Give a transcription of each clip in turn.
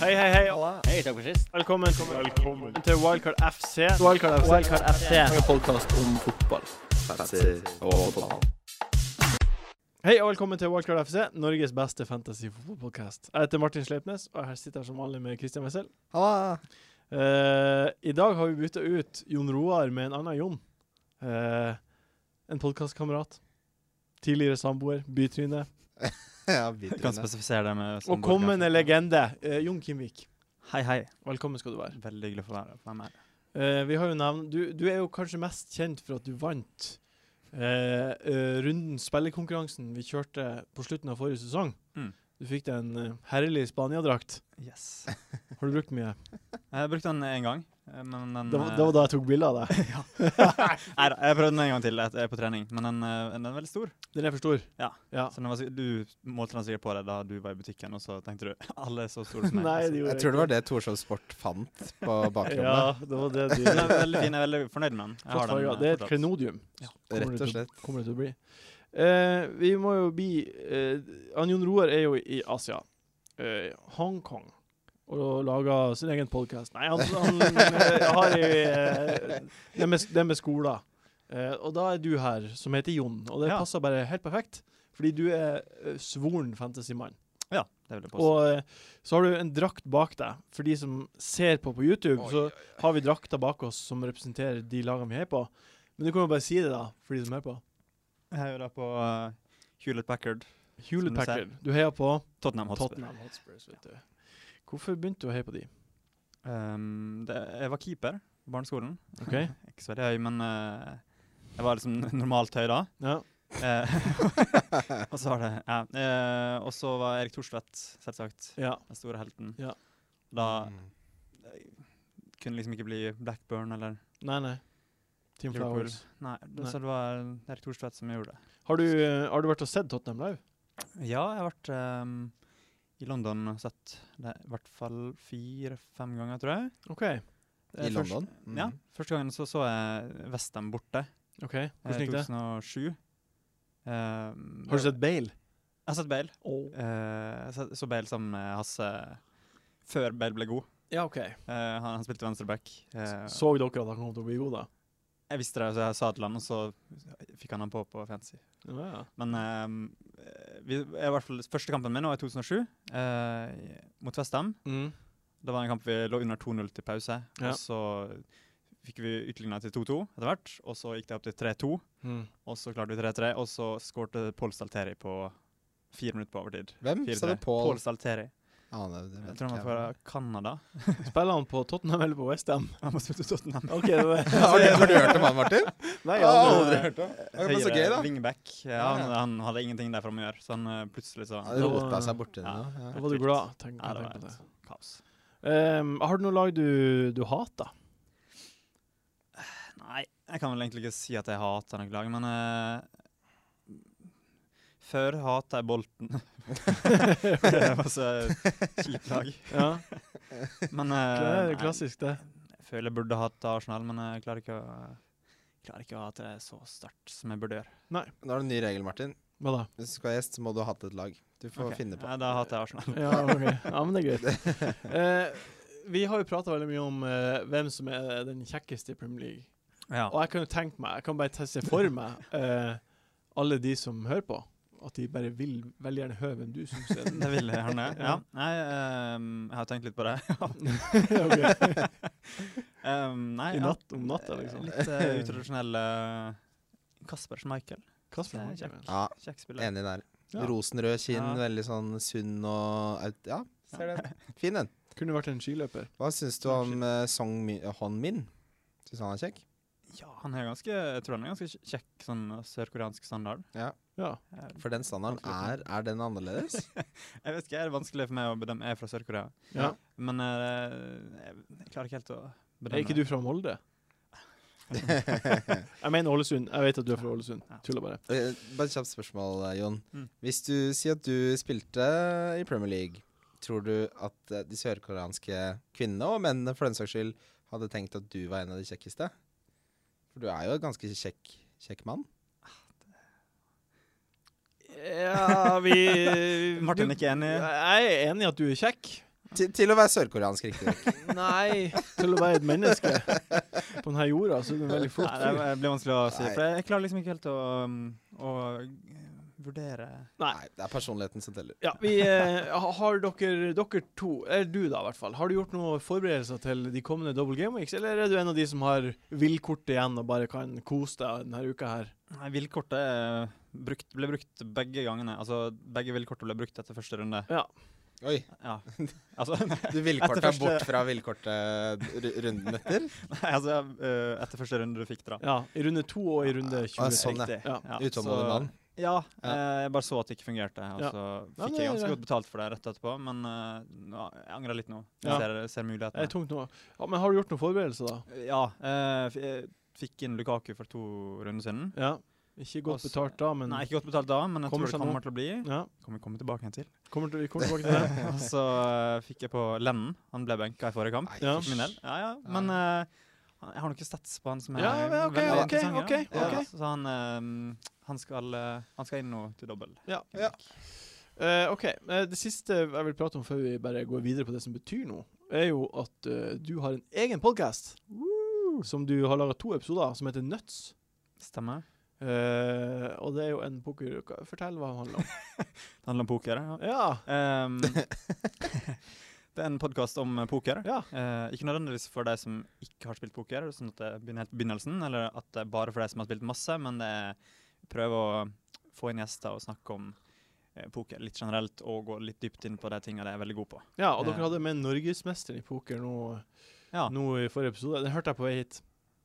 Hei, hei, hei. Hei, takk for sist. Velkommen, til Wildcard FC. Wildcard FC. En podkast om fotball. Hei og velkommen til Wildcard FC, Norges beste fantasy-fotballpodkast. Jeg heter Martin Sleipnes, og her sitter jeg som vanlig med Christian Wessel. Eh, I dag har vi bytta ut Jon Roar med en annen Jon. Eh, en podkastkamerat. Tidligere samboer, bytryne. Ja, Kan spesifisere det med Og kommende legende, eh, Jon Kimvik. Hei, hei. Velkommen skal du være. Veldig hyggelig å få være- få være med. Eh, vi har jo nevnt du, du er jo kanskje mest kjent for at du vant eh, eh, runden spillekonkurransen vi kjørte på slutten av forrige sesong. Mm. Du fikk deg en eh, herlig Spania-drakt. Yes. Har du brukt mye? Jeg brukte den én gang, eh, men den Det var, det var da jeg tok bilde av deg. Nei da, jeg prøvde den en gang til et, eh, på trening, men den, eh, den er veldig stor. Den er for stor. Ja. ja. Så den var, sikk- du målte den sikkert på deg da du var i butikken, og så tenkte du alle er så store som meg. Nei, det altså. gjorde Jeg tror det var det Torshov Sport fant på Ja, bakrommet. det var det du Den er veldig fin. Jeg er veldig fornøyd med den. Jeg Flott har den, farger. Det eh, er et fortsatt. klenodium. Ja. Kommer Rett det og til- slett. Kommer det til å bli. Eh, vi må jo bli eh, han Jon Roar er jo i Asia. Eh, Hongkong. Og lager sin egen podkast. Nei, han, han eh, har i eh, det, med, det med skoler. Eh, og da er du her, som heter Jon. Og det Ja. passer bare helt perfekt. Fordi du er eh, svoren fantasymann. Ja, det vil jeg påstå. Og eh, så har du en drakt bak deg. For de som ser på på YouTube, så har vi drakter bak oss som representerer de lagene vi heier på. Men du kan jo bare si det, da, for de som hører på. Jeg er jo da på eh, Hewlett Packard, Hewlett Som du Packard. Du heier på Tottenham Hotspur. Tottenham Hotspurs, vet du. Hvorfor begynte du å heie på de? Um, det, jeg var keeper på barneskolen. Ok? Ikke så veldig høy, men eh, jeg var liksom normalt høy da. Ja. Eh, og så var det ja. eh, Og så var Erik Thorstvedt, selvsagt, ja. den store helten. Ja. Da Mm. eh, kunne liksom ikke bli Blackburn eller Nei, nei. Team Liverpool. Flowers. Nei, Nei. Så det var Erik Thorstvedt som gjorde det. Har du, eh, har du vært og sett Tottenham live? Ja, jeg har vært ehm, i London og sett det i hvert fall fire-fem ganger, tror jeg. OK. Eh, I først- London? Mm. Ja. Første gangen så så jeg Westham borte. ok. eh, Hvordan gikk det? 2007. Ehm, Har du sett Bale? Jeg har sett Bale. Oh. Eh, jeg så- så Bale sammen med Hasse før Bale ble god. Ja, OK. Eh, han, han spilte venstreback. Eh, Så dere at han kom til å bli god, da? jeg visste det, så jeg sa det til han, og så fikk han han på på fancy. Ja, ja. Men eh, vi, jeg, i hvert fall, første kampen min var i 2007, eh, mot Westham. Mm. Det var en kamp vi lå under 2-0 til pause, Ja. og så fikk vi utligna til 2-2 etter hvert. Og så gikk det opp til 3-2, Mm. og så klarte vi 3-3, og så skårte Pål Stalteri på fire minutter på overtid. Hvem? Sa du 4-3. Paul? Pål Stalteri. Aner du det? Jeg tror han var fra Canada. Spiller han på Tottenham eller på Westham? Han må spille Tottenham. OK, det var har, du, har du hørt om han, Martin? Ah, Nei, Jeg har han, aldri hørt om han. Men så gøy, da. wingback. Ja, Ja, ja. han, han hadde ingenting der framme å gjøre, så han eh, plutselig så Han rota seg borti det. Ja. nå, da Ja. var du glad. Tenk, Ja, tenk det var altså. på det. et kaos. Ehm, har du noe lag du, du hater? Nei, jeg kan vel egentlig ikke si at jeg hater noe lag, men eh, Før hata jeg Bolten. det var så kjipt lag. Ja, Men det eh, er nei, klassisk, det. jeg føler jeg burde hatt Arsenal, men jeg klarer ikke å Klarer ikke å hate det så sterkt som jeg burde gjøre. Nå har du en ny regel, Martin. Hva da? Hvis du skal være gjest, så må du hate et lag. Du får Ok, finne på. Ja, da hater jeg Arsenal. Ja, ok. Ja, men det er greit. Eh, vi har jo prata veldig mye om eh, hvem som er den kjekkeste i Premier League. Ja. Og jeg kan jo tenke meg, jeg kan bare teste for meg eh, alle de som hører på, at de bare vil veldig gjerne høre hvem du syns er den Det vil jeg gjerne. Ja. Ja. Nei, ehm, jeg har tenkt litt på det. Ok. Ehm, nei, I ja. natt om natta, liksom. Litt eh, utradisjonell eh, Kasper Schmeichel. Kasper Det er Schmeichel. kjekk. Ja, Kjekk spiller. enig der. Ja. Rosenrød kinn, Ja. veldig sånn sunn og aut- Ja, ser den. Fin den. Kunne vært en skiløper. Hva syns du om eh, Song Mi- Hon Min? Syns han er kjekk? Ja, han er ganske Jeg tror han er ganske kj- kjekk sånn eh, sørkoreansk standard. Ja. Eh, For den standarden, er, er den annerledes? Jeg vet ikke, er det vanskelig for meg å bedømme? Jeg er fra Sør-Korea. ja. Men eh, jeg, jeg klarer ikke helt å bedømme. Er ikke du fra Molde? jeg mener Ålesund. Jeg vet at du er fra Ålesund. Ja. Tuller bare. Eh, Bare et kjapt spørsmål, eh, Jon. Mm. Hvis du sier at du spilte i Premier League, tror du at eh, de sørkoreanske kvinnene og mennene for den saks skyld hadde tenkt at du var en av de kjekkeste? For du er jo en ganske kjekk, kjekk mann. Ja, vi Martin er ikke enig? Eh, Jeg er enig i at du er kjekk. Til, til å være sørkoreansk, riktignok. Nei! Til å være et menneske på denne jorda, så er du en veldig flott Nei, fyr. det blir vanskelig å si. Nei. For jeg- jeg klarer liksom ikke helt å, um, å vurdere Nei. Nei, det er personligheten som teller. Ja, vi eh, ha- Har dere, dere to, eller du da i hvert fall, har du gjort noen forberedelser til de kommende Double Game Weeks, eller er du en av de som har villkortet igjen og bare kan kose deg denne uka her? Nei, Villkortet er brukt, ble brukt begge gangene. Altså, begge villkortene ble brukt etter første runde. Oi, Ja. Altså, du villkorta første- bort fra villkortet eh, ru- runden etter? nei, altså eh, etter første runde du fikk, da. Ja, I runde to og i runde 20. Ah, sånn, ja. Riktig. Ja. Utålmodig så- mann. Ja, Ja. eh, jeg bare så at det ikke fungerte. Og Ja. så Ja, fikk det jeg er ganske greit. godt betalt for det rett etterpå, men eh, nå- jeg angrer litt nå. Jeg Ja. ser, ser Det er mulighetene. tungt nå. Ja, men har du gjort noen forberedelser, da? Ja, eh, f- jeg fikk inn Lukaku for to runder siden. Ja. Ikke godt Altså, Også- betalt da, men Nei, ikke godt betalt da, men jeg Kommer tror det seg nå. kommer til å bli. ja. Kommer, kommer tilbake igjen til. kommer til, vi kommer tilbake til det. Og så eh, fikk jeg på Lennon. Han ble benka i forrige kamp. Nei, Ja. For min del. Ja, ja. Men eh, han- jeg har noen stats på han som er Ja, men ok, veldig ok, interessante, da. ok, Ja, ok. Så han, eh, han, skal, eh, han skal inn nå til dobbel. Ja. Ja. Eh, OK. eh, det siste jeg vil prate om før vi bare går videre på det som betyr noe, er jo at eh, du har en egen podkast som du har laga to episoder av, som heter Nuts. Stemmer. Eh, og det er jo en poker... hva- Fortell hva den handler om. Det handler om poker. Ja. ja. Ehm, det er en podkast om eh, poker. Ja. Eh, ikke nødvendigvis for de som ikke har spilt poker, sånn at det begynner helt på begynnelsen, eller at det er bare for de som har spilt masse, men det er prøve å få inn gjester og snakke om eh, poker litt generelt, og gå litt dypt inn på de tingene de er veldig gode på. ja. Og dere Ja. hadde med norgesmesteren i poker nå, Ja, nå i forrige episode. Den hørte jeg på vei hit.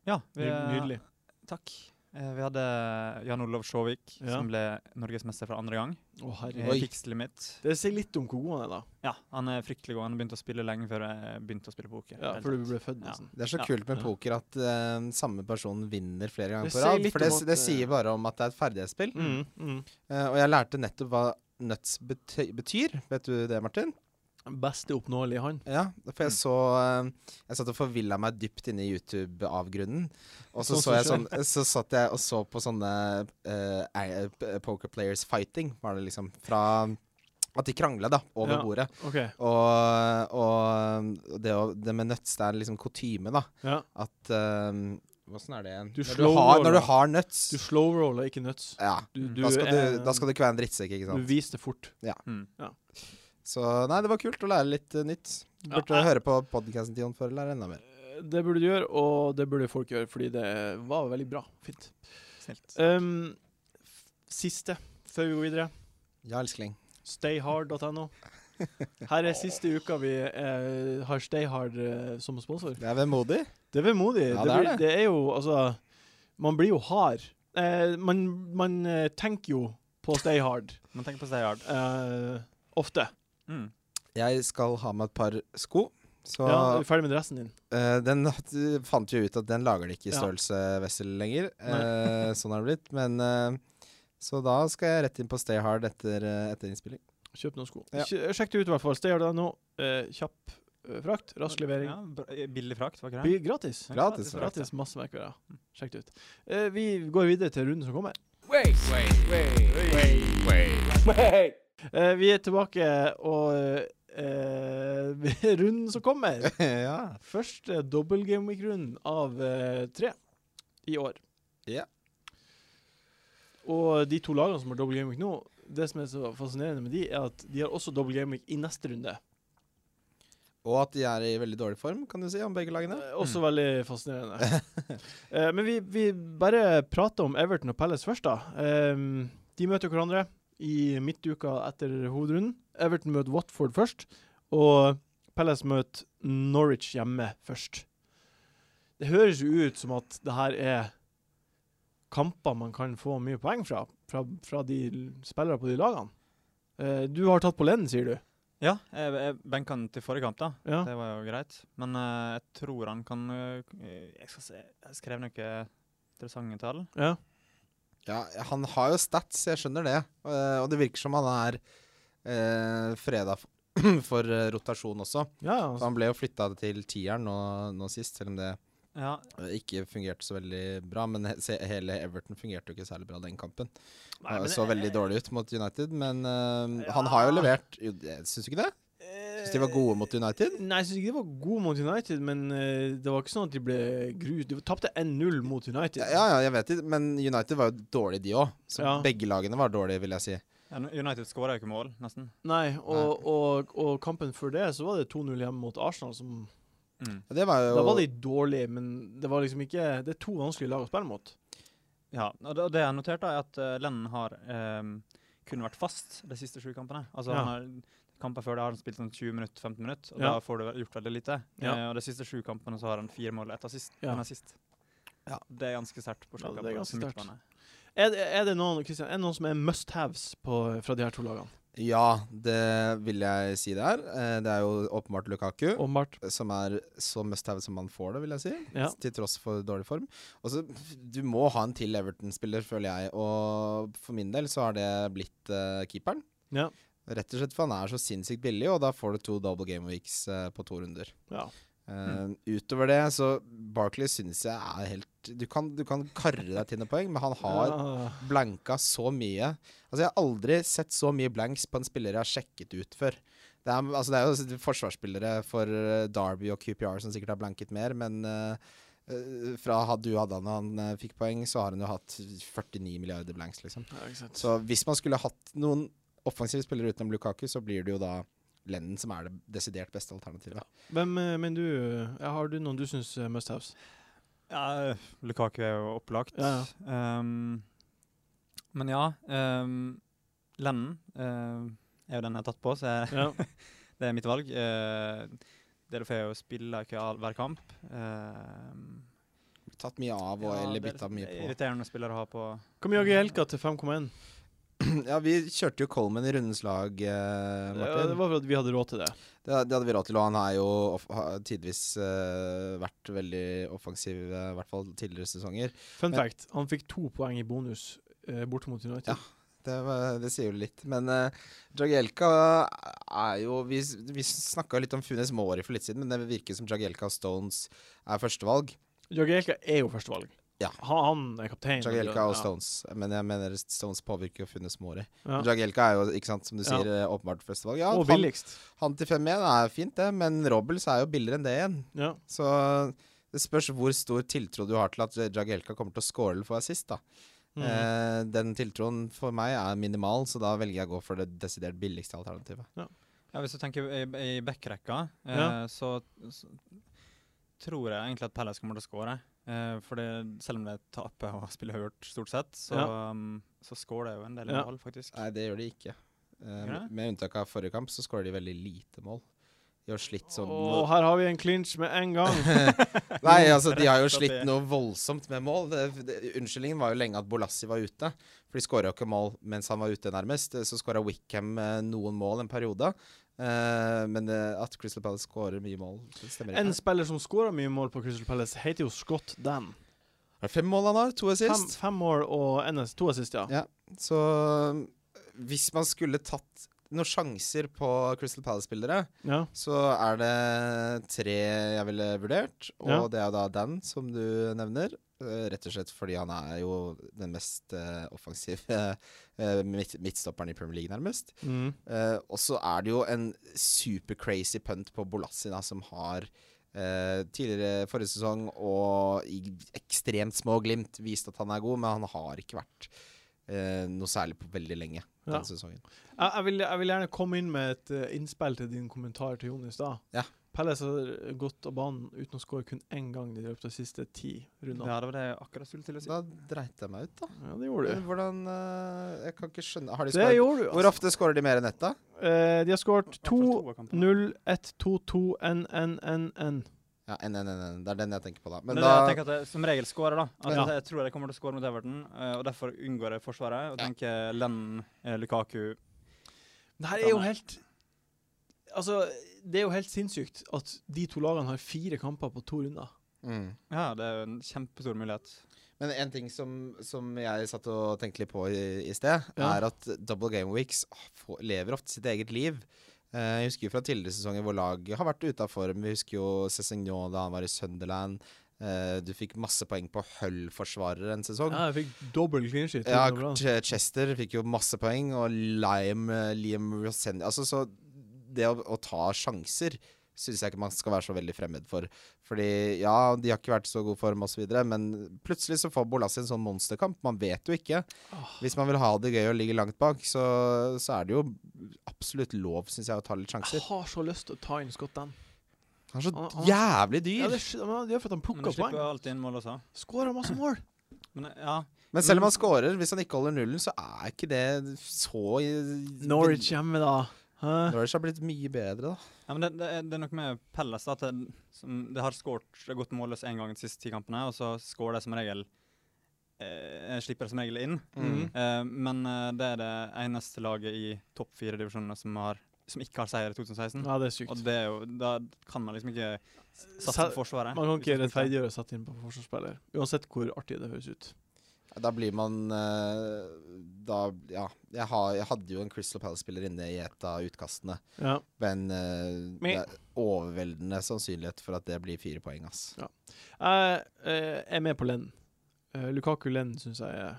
ja vi, Nydelig. Takk. Eh, vi hadde Jan Olav Sjåvik, Ja. som ble norgesmester for andre gang. Å, herregud. Oi. Oi. Fix limit. Det sier litt om hvor god han er, da. Ja, han er fryktelig god. Han begynte å spille lenge før jeg begynte å spille poker. Ja, Helt Før sant. du ble født, Ja. nesten. Det er så Ja. kult med Ja. poker at eh, samme person vinner flere ganger Det på sier rad. litt For det, om at, det eh, sier bare om at det er et ferdighetsspill. Mm, mm. Eh, og jeg lærte nettopp hva nuts bety betyr. Vet du det, Martin? Beste oppnåelige han. Ja, for jeg Mm. så eh, Jeg satt og forvilla meg dypt inne i YouTube-avgrunnen. Og så, Sånn så, som jeg sånn, så satt jeg og så på sånne eh, eh, p- poker players fighting, var det liksom. Fra at de krangla, da, over Ja. bordet. OK. Og, og det, å- det med nuts, det er liksom kutyme, da. Ja. At um, Åssen er det igjen? Du når, slow du har, roller. når du har nuts, Du slow-roller, ikke nuts. ja, Du, Mm. du, da, skal du, eh, da skal du ikke være en drittsekk, ikke du sant. viser det fort. Mm. Så nei, det var kult å lære litt eh, nytt. Ja, Burde jeg- høre på podkasten til Jon for å lære enda mer. Eh, Det burde du gjøre, og det burde folk gjøre, fordi det var veldig bra. Fint. Snilt. Um, f- siste, før vi går videre. Ja, elskling. Stayhard.no. Her er siste uka vi eh, har Stayhard eh, som sponsor. Det er vemodig. Det er vemodig. Ja, det, det er blir- det. det er jo Altså, man blir jo hard. Eh, man man eh, tenker jo på Stayhard Men tenk på Stay Hard. eh, ofte. Mm. Jeg skal ha med et par sko. Så Ja, er du ferdig med dressen din? eh, den du fant jo ut at den lager de ikke i Ja. størrelse Wessel lenger. Eh, sånn har det blitt. Men eh, så da skal jeg rett inn på Stay Hard etter, eh, etter innspilling. Kjøp noen sko. Ja. Kjø- Sjekk det ut, i hvert fall. Stayhard.no. Eh, kjapp eh, frakt, rask levering. Ja, bra- eh, billig frakt, var ikke det? Blir gratis. Ja, Gratis, frakt, Gratis masse merkere. Sjekk det ut. Eh, vi går videre til runden som kommer. Eh, vi er tilbake, og eh, eh, runden som kommer ja. Første dobbel gameweek-runden av eh, tre i år. Ja. Og de to lagene som har dobbel gameweek nå, det som er så fascinerende med de, er at de har også dobbel gameweek i neste runde. Og at de er i veldig dårlig form, kan du si, om begge lagene. Eh, Også veldig fascinerende. Eh, men vi, vi bare prater om Everton og Palace først, da. Eh, de møter hverandre i midtuka etter hovedrunden. Everton møter Watford først, og Palace møter Norwich hjemme først. Det høres jo ut som at det her er kamper man kan få mye poeng fra, fra, fra de l- spillere på de lagene. Eh, du har tatt på Lenn, sier du? Ja, jeg, jeg benka han til forrige kamp, da. Ja. Det var jo greit. Men eh, jeg tror han kan eh, Jeg skal se Jeg skrev noen interessante tall. ja. Ja, han har jo stats, jeg skjønner det. Eh, og det virker som han er eh, freda f- for eh, rotasjon også. ja Så altså. han ble jo flytta til tieren nå, nå sist, selv om det Ja, eh, ikke fungerte så veldig bra. Men he se, hele Everton fungerte jo ikke særlig bra den kampen. Nei, Han men så jeg- veldig dårlig ut mot United, men eh, Ja. han har jo levert. Jo, det- Syns du ikke det? Eh, Syns de var gode mot United? Nei, jeg syns ikke de var gode mot United, men eh, det var ikke sånn at de ble grus. De tapte 1-0 mot United. Ja, ja, jeg vet det, men United var jo dårlige, de òg. Så Ja. begge lagene var dårlige, vil jeg si. Ja, United skåra jo ikke mål, nesten. Nei, og, og, og kampen før det så var det 2-0 hjemme mot Arsenal. Som, Mm. Og det var jo da var de dårlige, men det var liksom ikke Det er to vanskelige lag å spille mot. Ja, og det, og det jeg noterte, er at eh, Lennon har eh, kun vært fast de siste sju kampene. Altså, Ja. han har, kamper før det har han spilt sånn 20 minutter, 15 minutter, og Ja. da får du vel- gjort veldig lite. Ja. Eh, og de siste sju kampene så har han fire mål, ett assist. Ja. Han er sist. Ja. Det er ganske sterkt på Ja, det er sluttkampen. Ja, ganske sterkt. Er, det- er, det noen, Christian, er det noen som er must haves på, fra de her to lagene? Ja, det vil jeg si det er. Eh, Det er jo åpenbart Lukaku. Åpenbart. som er så must have som man får det, vil jeg si. Ja. Til tross for dårlig form. Og så, Du må ha en til Everton-spiller, føler jeg. Og for min del så har det blitt eh, keeperen. Ja. Rett og slett for han er så sinnssykt billig, og da får du to double game weeks eh, på to runder. Ja. Eh, Utover det, så Barkley syns jeg er helt Du kan, du kan karre deg til noen poeng, men han har Ja. blanka så mye. Altså, jeg har aldri sett så mye blanks på en spiller jeg har sjekket ut før. Det er, altså, det er jo forsvarsspillere for eh, Derby og QPR som sikkert har blanket mer, men eh, eh, fra ha- du hadde han og han eh, fikk poeng, så har han jo hatt 49 milliarder blanks, liksom. Ja, ikke sant. Så hvis man skulle hatt noen offensive spillere utenom Lukaku, så blir det jo da Lennon som er det desidert beste alternativet. Hvem eh, mener du ja, Har du noen du syns er must haves? Ja, Lukaku er jo opplagt. Ja, Ehm, men ja, um, Lennon eh, er jo den jeg har tatt på, så jeg Ja. Det er mitt valg. Uh, Delofeo spiller ikke all, hver kamp. Uh, Tatt mye av og eller bytta mye på. Irriterende spillere å ha på. Hvor mye har Gielka til 5,1? Ja, vi kjørte jo Coleman i rundens lag, eh, Martin. Ja, det var for at vi hadde råd til det. Det, det hadde vi råd til, og han har jo off- har tidvis eh, vært veldig offensiv, eh, i hvert fall tidligere sesonger. Fun Men- fact, han fikk to poeng i bonus eh, borte mot United. Ja. Det, var- det sier jo litt. Men uh, Jagielka er jo Vi, s- vi snakka litt om Funes Mori for litt siden, men det virker som Jagielka og Stones er førstevalg. Jagielka er jo førstevalg. Ja. Han, han er kaptein. Jagielka og Ja. Stones. Men jeg mener Stones påvirker jo Funes Mori. Ja. Jagielka er jo, ikke sant, som du Ja. sier, eh, åpenbart førstevalg. Ja, og han, billigst. han til 5-1 er fint, det, men Robbels er jo billigere enn det igjen. Ja. Så det spørs hvor stor tiltro du har til at Jagielka kommer til å score eller få assist. da. Mm. Eh, den tiltroen for meg er minimal, så da velger jeg å gå for det desidert billigste alternativet. Ja, hvis du tenker i, i backrekka, eh, Ja. så, så tror jeg egentlig at Palace kommer til å skåre. Eh, for det, selv om det taper og spiller høyt stort sett, så, Ja. um, så skårer det jo en del Ja. mål, faktisk. Nei, det gjør de ikke. Eh, Gjør det? med unntak av forrige kamp, så skårer de veldig lite mål. De har slitt som Og her har vi en clinch med en gang. Nei, altså, de har jo Rett opp i- slitt noe voldsomt med mål. Det, det, unnskyldningen var jo lenge at Bolassi var ute, for de skåra jo ikke mål mens han var ute, nærmest. Så skåra Wickham eh, noen mål en periode. Eh, men eh, at Crystal Palace skårer mye mål, det stemmer ikke. En spiller som skåra mye mål på Crystal Palace, heter jo Scott Dan. Er det fem mål han har? To Fem, assist? fem år og NS, to assist, ja. Ja. Så eh, hvis man skulle tatt noen sjanser på Crystal Palace-spillere, ja. så er det tre jeg ville vurdert. Og Ja. det er da Dan, som du nevner. eh, Rett og slett fordi han er jo den mest eh, offensive eh, midt, midtstopperen i Premier League, nærmest. Mm. Eh, og så er det jo en super-crazy punt på Bolassi, da, som har eh, tidligere forrige sesong og i ekstremt små glimt vist at han er god, men han har ikke vært eh, noe særlig på veldig lenge Ja. denne sesongen. Jeg, jeg, vil, jeg vil gjerne komme inn med et eh, innspill til din kommentar til Jon i stad. Ja. Palace har gått av banen uten å skåre kun én gang i løpet av de siste ti rundene. Ja. Ja, det var det jeg akkurat skulle til å si. Da dreit jeg meg ut, da. det gjorde Men du. hvordan eh, Jeg kan ikke skjønne har de Det skåret- gjorde du. Hvor ofte skårer de mer enn ett, da? Eh, de har skåret I hvert fall 2-0, av kampene. 1-1-1-1-1. Ja, en, en, en, en. Det er den jeg tenker på, da. Men Men det, da jeg tenker at jeg som regel skårer, da. Altså, Ja. Jeg tror jeg kommer til å skåre mot Everton, eh, og derfor unngår jeg Forsvaret. Og tenker Lenn, eh, Lukaku Det her er jo helt Altså, det er jo helt sinnssykt at de to lagene har fire kamper på to runder. mm. Ja, det er jo en kjempestor mulighet. Men en ting som, som jeg satt og tenkte litt på i, i sted, Ja. er at double game weeks ah, få- lever ofte sitt eget liv. Eh, jeg husker jo fra tidligere sesonger hvor lag har vært ute av form. Vi husker jo Cézignon da han var i Sunderland. Eh, du fikk masse poeng på Hull-forsvarere en sesong. Ja, jeg fikk dobbel clean sheet. Ja, det var bra. Ch- Chester fikk jo masse poeng, og Liam, eh, Liam Rosendi Altså, så det å, å ta sjanser syns jeg ikke man skal være så veldig fremmed for. Fordi ja, de har ikke vært i så god form osv., men plutselig så får Bolassi en sånn monsterkamp. Man vet jo ikke. Hvis man vil ha det gøy og ligge langt bak, så, så er det jo absolutt lov, syns jeg, å ta litt Jeg sjanser. har så lyst til å ta inn Scott Dan. Han Han- er så han- jævlig Ja, dyr. det, er sj- men det er for at han Men du plukker slipper poeng. jo alltid inn mål også. Skårer masse mål. Men ja, Men selv om han scorer, hvis han ikke holder nullen, så er ikke det så i- Norwich hjemme, da. Hæ? Norwich har blitt mye bedre, da. ja men det, det, er, det er noe med Pelles. da, At det, som, det har skårt, det har gått målløst én gang de siste ti kampene, og så skårer de som regel eh, Slipper det som regel inn. Mm. Eh, men eh, det er det eneste laget i topp fire-divisjonene som, har- som ikke har seier i 2016. Ja, det er Og sykt. det er jo, da kan man liksom ikke satse Sa- på Forsvaret. Man kan Hvis ikke man skal- rettferdiggjøre å sette inn på forsvarsspiller, uansett hvor artig det høres ut. Da blir man eh, Da Ja. Jeg, har, jeg hadde jo en Crystal Palace-spiller inne i et av utkastene, Ja. men eh, det Men- er overveldende sannsynlighet for at det blir fire poeng, ass. Jeg eh, er med på Lenn. Eh, Lukaku Lenn syns jeg er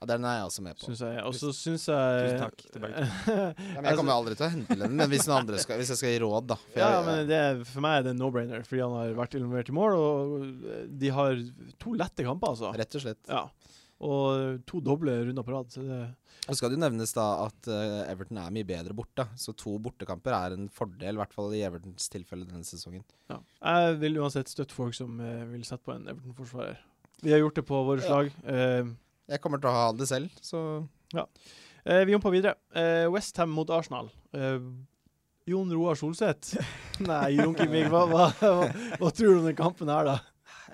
Ja, den er jeg også med på. Syns jeg er. Og så syns jeg Tusen takk til begge Ja, men jeg kommer aldri til å hente den, men hvis, noen andre skal, hvis jeg skal gi råd, da. For jeg, altså- Ja, men det, er- for meg er det en no-brainer, fordi han har vært involvert i mål, og eh, de har to lette kamper, altså. Rett og slett. Ja. Og to doble runder på rad. Så det, Og skal det jo nevnes da at eh, Everton er mye bedre borte, så to bortekamper er en fordel, i hvert fall i Evertons tilfelle denne sesongen. ja. Jeg vil uansett støtte folk som eh, vil sette på en Everton-forsvarer. Vi har gjort det på våre Ja. slag. Eh, Jeg kommer til å ha det selv, så eh, vi jumper videre. Eh, Westham mot Arsenal. Eh, Jon Roar Solseth. Nei, Jon Kimvig, hva, hva, hva, hva tror du om den kampen her, da?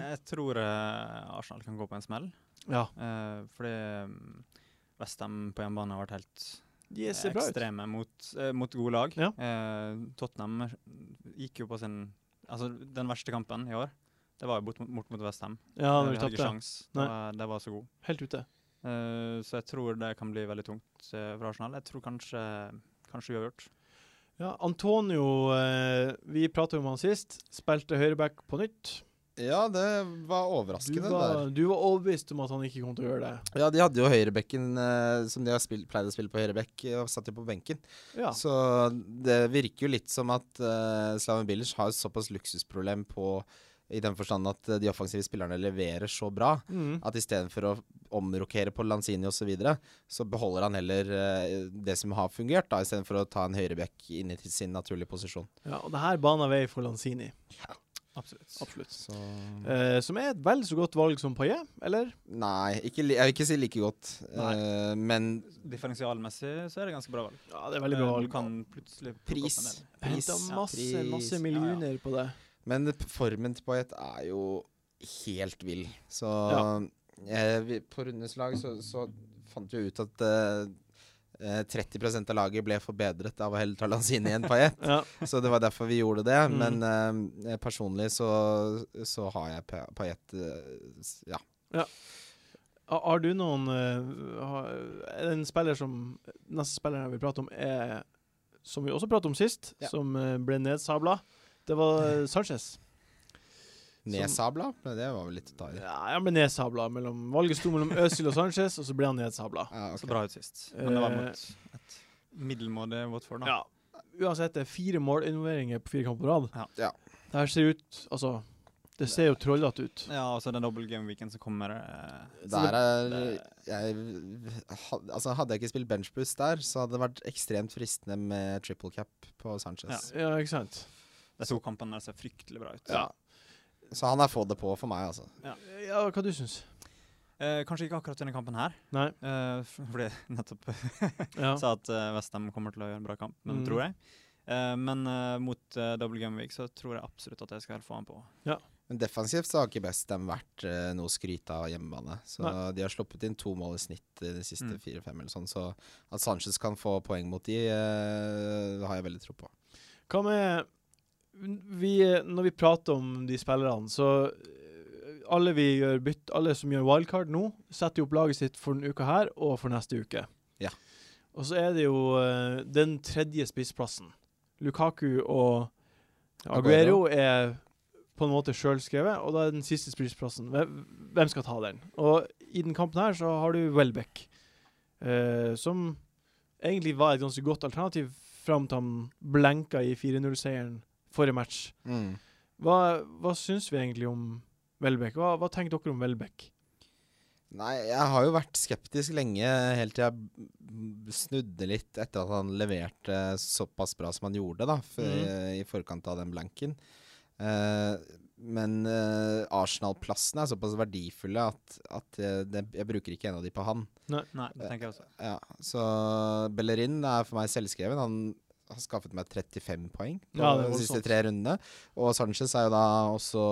Jeg tror eh, Arsenal kan gå på en smell. Ja. eh, fordi um, Westham på hjemmebane har vært helt De eh, ser bra ut. ekstreme mot, eh, mot gode lag. Ja. Eh, Tottenham gikk jo på sin Altså, den verste kampen i år, det var jo bort mot, bort mot Westham. Ja, når de vi hadde ikke tapte. sjans. De Nei. var, de var så gode. Helt ute. Eh, så jeg tror det kan bli veldig tungt eh, for Arsenal. Jeg tror kanskje Kanskje uavgjort. Ja, Antonio, eh, vi pratet om han sist. Spilte høyreback på nytt. Ja, det var Du overraskende. det der. var, du var overbevist om at han ikke kom til å gjøre det. Ja, de hadde jo høyrebekken eh, som de har spilt, pleide å spille på høyrebekk, eh, og satt jo på benken. Ja. Så det virker jo litt som at eh, Slaven Bilic har et såpass luksusproblem på i den forstand at eh, de offensive spillerne leverer så bra Mm. at istedenfor å omrokere på Lanzini osv., så, videre, så beholder han heller eh, det som har fungert, da, istedenfor å ta en høyrebekk inn i sin naturlige posisjon. ja. Og det her bana vei for Lanzini, Absolutt. absolutt. Så Eh, som er et vel så godt valg som Paillet, eller? Nei, ikke, li- jeg vil ikke si like godt, Nei. eh, men Differensialmessig så er det ganske bra valg. Ja, det er veldig Eh, bra du valg. Kan plutselig plukke Pris. opp en del. pris, Henta masse, pris. masse millioner på det. Men p- formen til Payet er jo helt vill. Så eh, vi, på rundens lag så, så fant vi jo ut at eh, eh, 30 av laget ble forbedret av å heller ta Lanzini enn Payet. Ja. så det var derfor vi gjorde det. Mm. Men eh, personlig så, så har jeg Pa- Payet eh, s- Ja. Har har du noen eh, har, Er det en spiller som Neste spiller jeg vil prate om, er Som vi også pratet om sist, Ja. som eh, ble nedsabla. Det var eh, Sanchez. Nedsabla? Men det var vel litt å ta i. Ja, han ble nedsabla. Mellom, valget sto mellom Øzil og Sanchez, og så ble han nedsabla. Ja, ok. Så bra ut sist. Men det var Eh, mot et middelmådig Watford, da. Ja. Uansett, det er fire målinvolveringer på fire kamper på rad. Ja. Ja. Det her ser ut Altså, det ser jo trollete ut. Ja, og så den dobbel game-weekend som kommer. Eh, Så Der er det- jeg, ha- altså Hadde jeg ikke spilt benchboost der, så hadde det vært ekstremt fristende med triple cap på Sanchez. Ja. Ja, ikke sant? de to kampene der ser fryktelig bra ut. Ja. Så han er få det på for meg, altså. Ja, hva du syns Eh, kanskje ikke akkurat denne kampen her, Nei? eh, f- fordi jeg nettopp Ja. sa at eh, Westham kommer til å gjøre en bra kamp, men Mm. tror jeg. Eh, men eh, mot eh, dobbel game-week så tror jeg absolutt at jeg skal få han på. Men defensivt så har ikke Bestem vært eh, noe å skryte av hjemmebane. Så Nei. de har sluppet inn to mål i snitt eh, de siste Mm. fire-fem, eller sånn. Så at Sanchez kan få poeng mot de, eh, det har jeg veldig tro på. Hva med vi, Når vi prater om de spillerne, så eh, alle, vi gjør bytt, alle som gjør wildcard nå, setter jo opp laget sitt for denne uka her og for neste uke. Ja. Og så er det jo eh, den tredje spissplassen. Lukaku og Aguero er på en måte sjølskrevet, og da er den siste spissplassen. Hvem, hvem skal ta den? Og i den kampen her så har du Welbeck, eh, som egentlig var et ganske godt alternativ fram til han blenka i 4-0-seieren forrige match. Mm. Hva, hva syns vi egentlig om Welbeck? Hva, hva tenker dere om Welbeck? Nei, jeg har jo vært skeptisk lenge, helt til jeg b- snudde litt etter at han leverte såpass bra som han gjorde, da, f i forkant av den blanken. Eh, men eh, Arsenal-plassene er såpass verdifulle at, at eh, det, jeg bruker ikke en av de på han. Nei, det tenker jeg også. Ja, så Bellerin er for meg selvskreven. Han har skaffet meg 35 poeng på Ja, det er de siste voldsomt. tre rundene. Og Sanchez er jo da også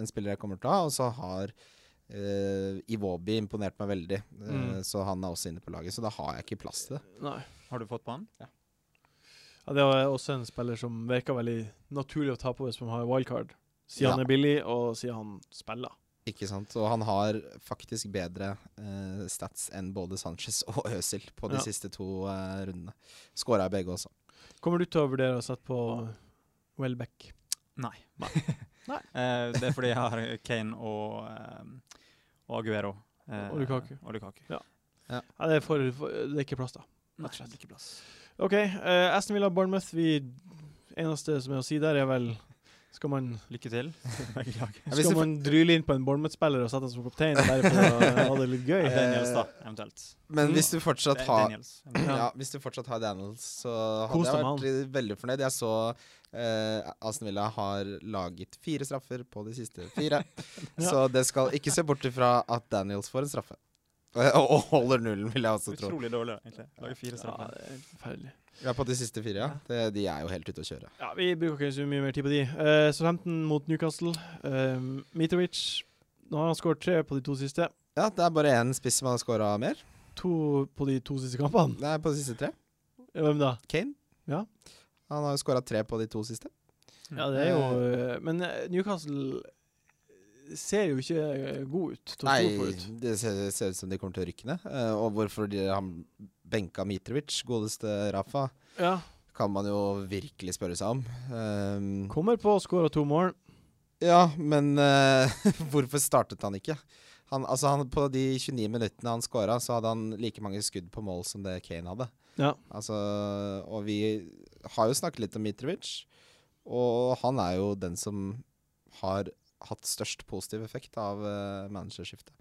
en spiller jeg kommer til å ha. Og så har eh, Iwobi imponert meg veldig, Eh, Mm. så han er også inne på laget. Så da har jeg ikke plass til det. Nei. Har du fått på han? Ja, det var også en spiller som virka veldig naturlig å ta på hvis man har wildcard. Siden Ja. han er billig, og siden han spiller. Ikke sant? Og han har faktisk bedre eh, stats enn både Sanchez og Øzil på de Ja. siste to eh, rundene. Skåra begge også. Kommer du til å vurdere å sette på Welbeck? Nei. Nei. Eh, det er fordi jeg har Kane og, eh, og Aguero. eh, Og Lukaku. Og Lukaku. Ja, det, er for, for, det er ikke plass, da. Nei, Rett og slett. ikke plass. OK, eh, Aston Villa Bournemouth. Vi eneste som er å si der, er vel Skal man, Lykke til. Begge lag. Ja, hvis skal det- man dryle inn på en Bournemouth-spiller og sette ham som kaptein bare for å ha det litt gøy? Eh, Daniels, da, eventuelt. Men Mm. hvis du fortsatt Da- har Daniels. Ja. Ja, Hvis du fortsatt har Daniels, så Kos hadde jeg deg med vært eh, veldig fornøyd. Jeg så eh, Aston Villa har laget fire straffer på de siste fire. Ja. Så det skal ikke se bort ifra at Daniels får en straffe. Eh, Og, og holder nullen, vil jeg også tro. Utrolig dårlig, egentlig. Lager fire Ja, straffer. det er forferdelig. Ja, på de siste fire, ja. Det, de er jo helt ute å kjøre. Ja, vi bruker ikke så mye mer tid på de. Uh, Southampton mot Newcastle. Uh, Mitrovic Nå har han skåret tre på de to siste. Ja, det er bare én spiss som har scora mer. To på de to siste kampene. Det er på de siste tre. Hvem da? Kane. Ja. Han har jo scora tre på de to siste. Ja, det er jo eh, Men eh, Newcastle ser jo ikke eh, god ut. til å stå Nei, forut. det ser, ser ut som de kommer til å rykke ned. Eh, og hvorfor de, han benka Mitrovic, godeste Rafa, Ja. kan man jo virkelig spørre seg om. Ehm, Kommer på å skåre to mål. ja, men eh, hvorfor startet han ikke? Han, altså han, på de 29 minuttene han scora, så hadde han like mange skudd på mål som det Kane hadde. Ja. Altså, og vi har jo snakket litt om Mitrovic, og han er jo den som har hatt størst positiv effekt av uh, managerskiftet.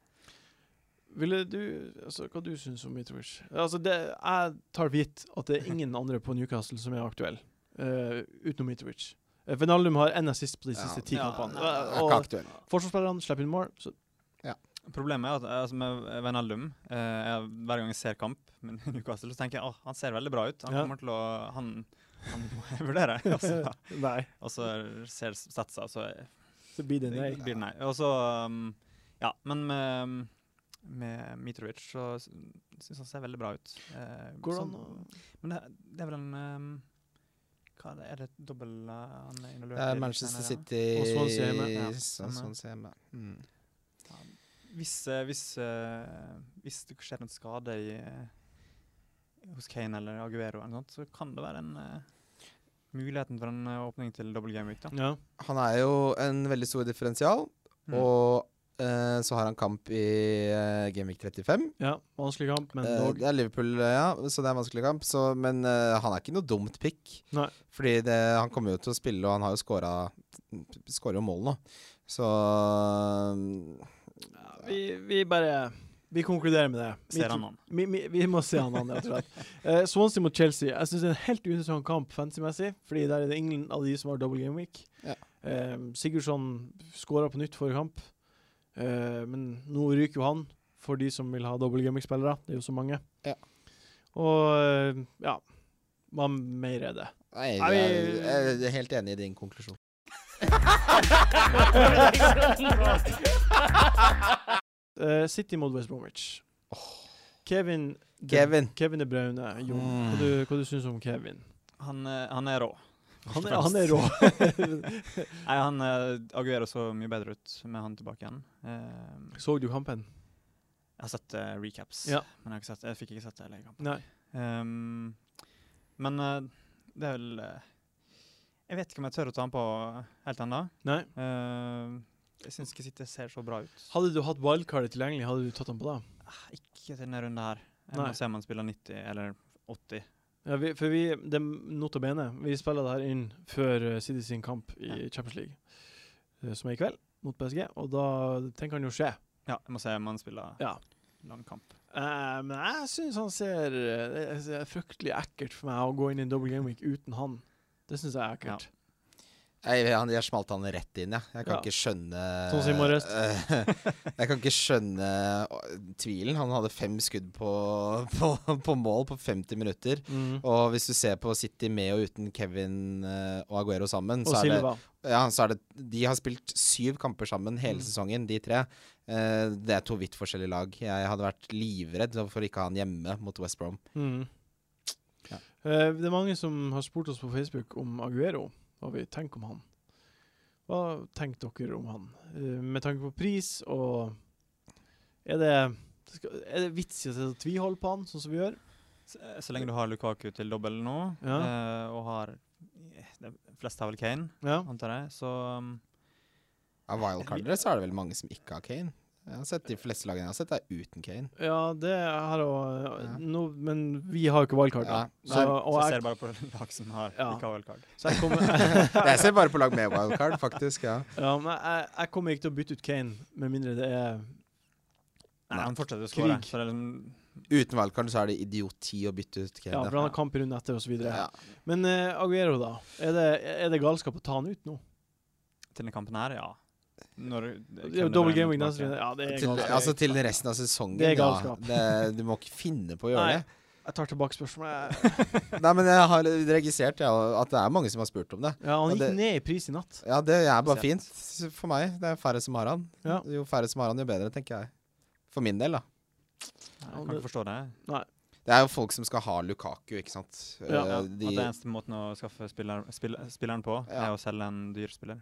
Ville du Altså, hva du syns om Mitrovic? Altså, det, jeg tar for gitt at det er ingen andre på Newcastle som er aktuelle, eh, utenom Mitrovic. Uh, Venaldum har én assist på de Ja. siste ti Ja, kampene. nei, Eh, Det er og ikke aktuell. forsvarsspillerne slipper inn mål. Så Problemet er at eh, altså med Wijnaldum, eh, jeg- hver gang jeg ser kamp med Newcastle, så tenker jeg at han ser veldig bra ut. Han Ja. kommer til å Han, han må jeg vurdere. Og så- nei, Og så ser statsa, så er- så blir det nei. blir det nei. Og så um, Ja, men med, med Mitrovic så syns han ser veldig bra ut. Eh, Går det sånn- an å Men det, det er vel en um, Hva er det, er det dobbel eh, han er involvert Det er i? Manchester Senere, ja. City Og Swansea hjemme. Ja, Swan- stemmer. Swansea hjemme. Mm. Ja, Hvis, eh, hvis, eh, hvis det skjer en skade i, eh, hos Kane eller Aguero, eller noe sånt, så kan det være en eh, muligheten for en eh, åpning til double game week. Da. Ja. Han er jo en veldig stor differensial, Mm. og eh, så har han kamp i eh, Gameweek 35. ja. Vanskelig kamp, men Eh, dog. det er Liverpool, eh, ja, så det er en vanskelig kamp. Så, men eh, han er ikke noe dumt pick. Nei. Fordi det, han kommer jo til å spille, og han har jo skåra Skårer jo mål nå. Så eh, Ja, vi, vi bare Vi konkluderer med det. Ser han han? Vi, vi, vi må se han an, rett og slett. Eh, Swansea mot Chelsea. Jeg syns det er en helt uinteressant kamp fancy-messig, fordi der er det ingen av de som har double game week. Ja. Eh, Sigurdsson skåra på nytt forrige kamp, eh, men nå ryker jo han for de som vil ha double game week-spillere. Det er jo så mange. Ja. Og eh, ja Hva mer er det? Nei, Nei, jeg, vi- er- jeg er helt enig i din konklusjon. Eh, City mot West Bromwich. Kevin De- Kevin. Kevin De Braune. Jon, hva, Mm. du, hva du syns du om Kevin? Han, eh, han er rå. Han er, han er rå. Nei, han eh, Aguero så mye bedre ut med han tilbake igjen. Eh, Så du kampen? jeg har sett eh, recaps, Ja. men jeg, har ikke sett, jeg fikk ikke sett det hele kampen. Nei. Ehm, men eh, det er vel eh, Jeg vet ikke om jeg tør å ta han på helt ennå. Nei. Ehm, jeg syns ikke City ser så bra ut. Hadde du hatt wildcardet tilgjengelig, hadde du tatt han på da? Ah, Ikke til denne runden her. Jeg Nei. må se om han spiller 90 eller 80. Ja, vi, for vi, det er notabene, vi spiller det her inn før eh, City sin kamp i Ja. Champions League, eh, som er i kveld, mot PSG, og da ting kan jo skje. Ja, jeg må se om han spiller Ja. lang kamp. Eh, men jeg syns han ser eh, Det er- det er fryktelig ekkelt for meg å gå inn i en double game week uten han. Det syns jeg er ekkelt. Jeg, han- jeg smalt han rett inn, jeg. Jeg kan Ja. ikke skjønne eh, Sånn som i morges. Jeg kan ikke skjønne eh, tvilen. Han hadde fem skudd på, på, på mål på 50 minutter. Mm. Og hvis du ser på City med og uten Kevin eh, og Aguero sammen, Og så er det Silva. ja, så er det De har spilt syv kamper sammen hele Mm. sesongen, de tre. Eh, det er to vidt forskjellige lag. Jeg hadde vært livredd for ikke å ha han hjemme mot West Brom. Mm. Ja. Eh, det er mange som har spurt oss på Facebook om Aguero. Hva vi tenker om han. Hva tenker dere om han? Eh, med tanke på pris og Er det, skal- er det vits i å sette tvihold på han, sånn som vi gjør? Så, eh, så lenge du har Lukaku til dobbel nå, eh, og har eh, de fleste har vel Kane, Ja. antar jeg, så um, Av wildcardere så er det vel mange som ikke har Kane. Jeg har sett De fleste lagene jeg har sett, er uten Kane. Ja, det har jeg Ja. nå- Men vi har jo ikke wildcard. da. Ja. Så, Nei, så og ser jeg, jeg bare på lag som har Ja. ikke har wildcard. så jeg kommer Jeg ser bare på lag med wildcard, faktisk. ja ja, men jeg, jeg kommer ikke til å bytte ut Kane, med mindre det er Nei, han fortsetter å skåre. Krig. Så det er liksom Uten wildcard så er det idioti å bytte ut Kane. Ja, for han har kamp i runden etter, osv. Ja. videre Men eh, Aguero, da. Er det, er det galskap å ta han ut nå? til denne kampen her, ja. Når, eh, Det er jo Double gaming neste runde. Ja, det er Til, galskap. altså til resten av sesongen, Det er ja. galskap. Det, du må ikke finne på å gjøre Nei. det. Jeg tar tilbake spørsmålet. Nei, men jeg har registrert ja, at det er mange som har spurt om det. Ja, han Og gikk det- ned i pris i natt. Ja, det er bare Sett. fint for meg. Det er færre som har han. Ja. Jo færre som har han, jo bedre, tenker jeg. For min del, da. Jeg kan ikke forstå det. Det er jo folk som skal ha Lukaku, ikke sant. Ja, Eh, Ja, de, At det eneste måten å skaffe spiller, spill, spilleren på, er Ja. å selge en dyr spiller.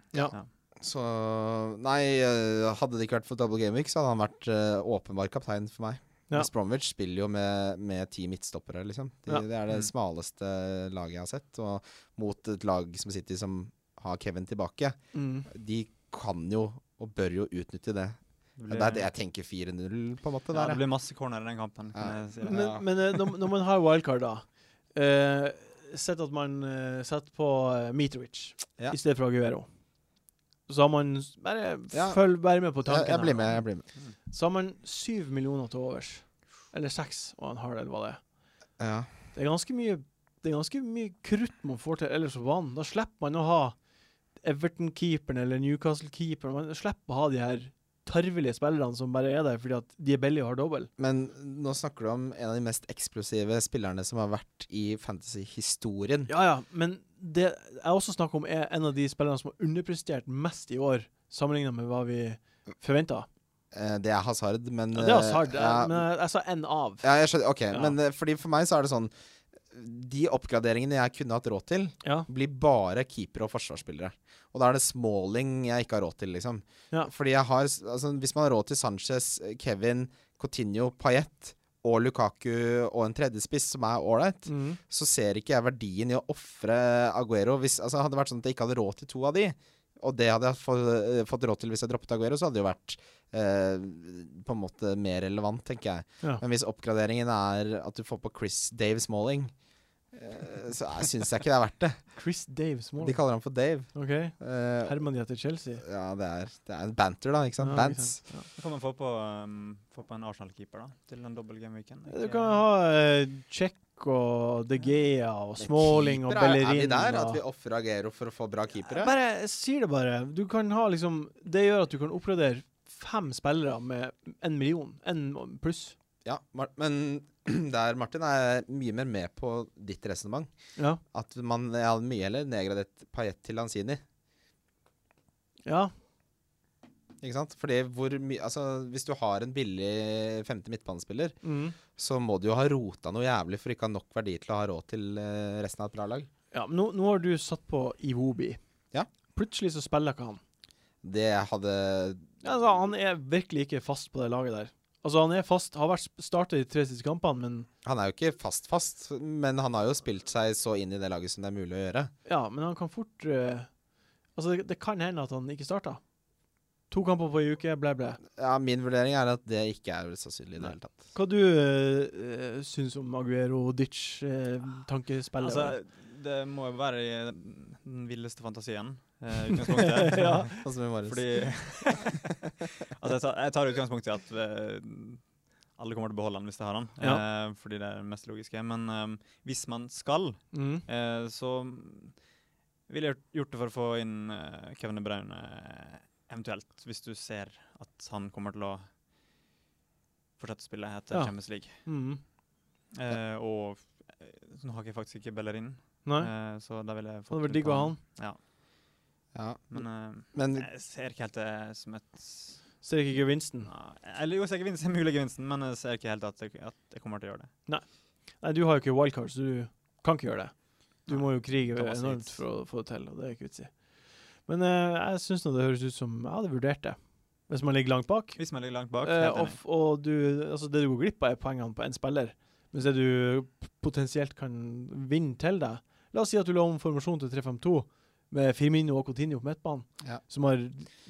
Så Nei, eh, hadde det ikke vært for Double Game Week, så hadde han vært eh, åpenbar kaptein for meg. Ja. West Bromwich spiller jo med, med ti midtstoppere, liksom. De, Ja. Det er det Mm. smaleste laget jeg har sett. Og mot et lag som City, som har Kevin tilbake. Mm. De kan jo, og bør jo, utnytte det. Det Det er det jeg tenker 4-0, på en måte. ja, der, det blir masse corner i den kampen. Kan Ja. jeg si. Men, men eh, når, når man har wildcard, da eh, Sett at man eh, setter på eh, Mitrovic Ja. i stedet for Aguero. Så har man s- Bare Ja. følg bare med på Jeg, tanken. jeg her. blir med. jeg blir med Så har man syv millioner til overs. Eller seks, og en halv, eller hva det er. ja. Det er ganske mye Det er ganske mye krutt man får til ellers på banen. Da slipper man å ha Everton-keeperen eller Newcastle-keeperen. Man slipper å ha de her tarvelige spillerne som bare er der fordi at de er billige og har dobbel. Men nå snakker du om en av de mest eksplosive spillerne som har vært i fantasy-historien. Ja, ja, men det jeg også snakker om, er en av de spillerne som har underprestert mest i år, sammenligna med hva vi forventa. Eh, Det er Hazard, men Ja, det er Hazard, eh, jeg- ja, men jeg, jeg sa én av. ja, jeg skjønner. Ok, Ja. men eh, fordi for meg så er det sånn De oppgraderingene jeg kunne hatt råd til, Ja. blir bare keepere og forsvarsspillere. Og da er det smalling jeg ikke har råd til, liksom. Ja. Fordi jeg har altså, Hvis man har råd til Sanchez, Kevin, Coutinho, Payet og Lukaku og en tredjespiss som er ålreit, Mm. så ser ikke jeg verdien i å ofre Aguero. Hvis, altså, hadde det vært sånn at jeg ikke hadde råd til to av de, og det hadde jeg fått, eh, fått råd til hvis jeg droppet Aguero, så hadde det jo vært eh, på en måte mer relevant, tenker jeg. Ja. Men hvis oppgraderingen er at du får på Chris Dave Smalling, eh, så syns jeg ikke det er verdt det. Chris Daves mål. De kaller ham for Dave. OK. Eh, Herman de etter Chelsea. ja, det er, det er en banter, da. Ikke sant? Ja, ikke Bants. sant. Ja. Så kan man få på, um, få på en Arsenal-keeper da, til den dobbel gameweeken. Du kan ha eh, Check og De Gea og Smalling og Keeper, er- Bellerin. Er vi der? At og- vi ofrer Aguero for å få bra keepere? Bare jeg sier det bare. Du kan ha liksom Det gjør at du kan oppgradere fem spillere med en million. En pluss. Ja, Mar- men der, Martin, er jeg mye mer med på ditt resonnement. Ja. At man jeg hadde mye heller nedgradert Payet til Lanzini. Ja. Ikke sant? Fordi hvor mye Altså, hvis du har en billig femte midtbanespiller, Mm. så må du jo ha rota noe jævlig for ikke å ha nok verdi til å ha råd til eh, resten av et bra lag. ja men nå, nå har du satt på Iwobi. Ja. Plutselig så spiller ikke han. Det hadde Altså, han er virkelig ikke fast på det laget der. Altså, han er fast, har vært starta de tre siste kampene, men Han er jo ikke fast-fast, men han har jo spilt seg så inn i det laget som det er mulig å gjøre. Ja, men han kan fort eh, Altså, det, det kan hende at han ikke starter. To kamper på ei uke, blæ, blæ. Ja, min vurdering er at det ikke er sannsynlig i det Nei. hele tatt. Hva du eh, eh, syns om Aguero eh, Ditch-tankespillet? Altså, det må jo være i den villeste fantasien. eh, utgangspunktet. Ja. Sånn som i morges. Fordi Altså, jeg tar, jeg tar utgangspunkt i at eh, alle kommer til å beholde han hvis de har han, eh, fordi det er det mest logiske. Men eh, hvis man skal, mm. eh, så ville jeg gjort- gjort det for å få inn eh, Kevin De Bruyne eh, eventuelt, hvis du ser at han kommer til å fortsette å spille etter Ja. Champions League. Mm. Eh, og eh, nå har jeg faktisk ikke Bellerin, Nei, eh, så da ville jeg det hadde inn vært digg på å ha han. Ja, Ja. men eh, Men jeg ser ikke helt det som et Ser ikke gevinsten. Nei, Eller jo, jeg ser gevinsten, mulig gevinsten, men jeg ser ikke helt at jeg, at jeg kommer til å gjøre det. Nei, du har jo ikke wildcard, så du kan ikke gjøre det. Du Nei, må jo krige det var så enormt hits. for å få det til, og det er ikke vits i. Men eh, jeg syns nå det høres ut som jeg hadde vurdert det, hvis man ligger langt bak. Hvis man ligger langt bak, Eh, helt og, enig. f- og du, altså det du går glipp av, er poengene på én spiller. Mens det du p- potensielt kan vinne til deg La oss si at du la om formasjonen til 3-5-2 med Firmino og Coutinho på midtbanen, Ja. som har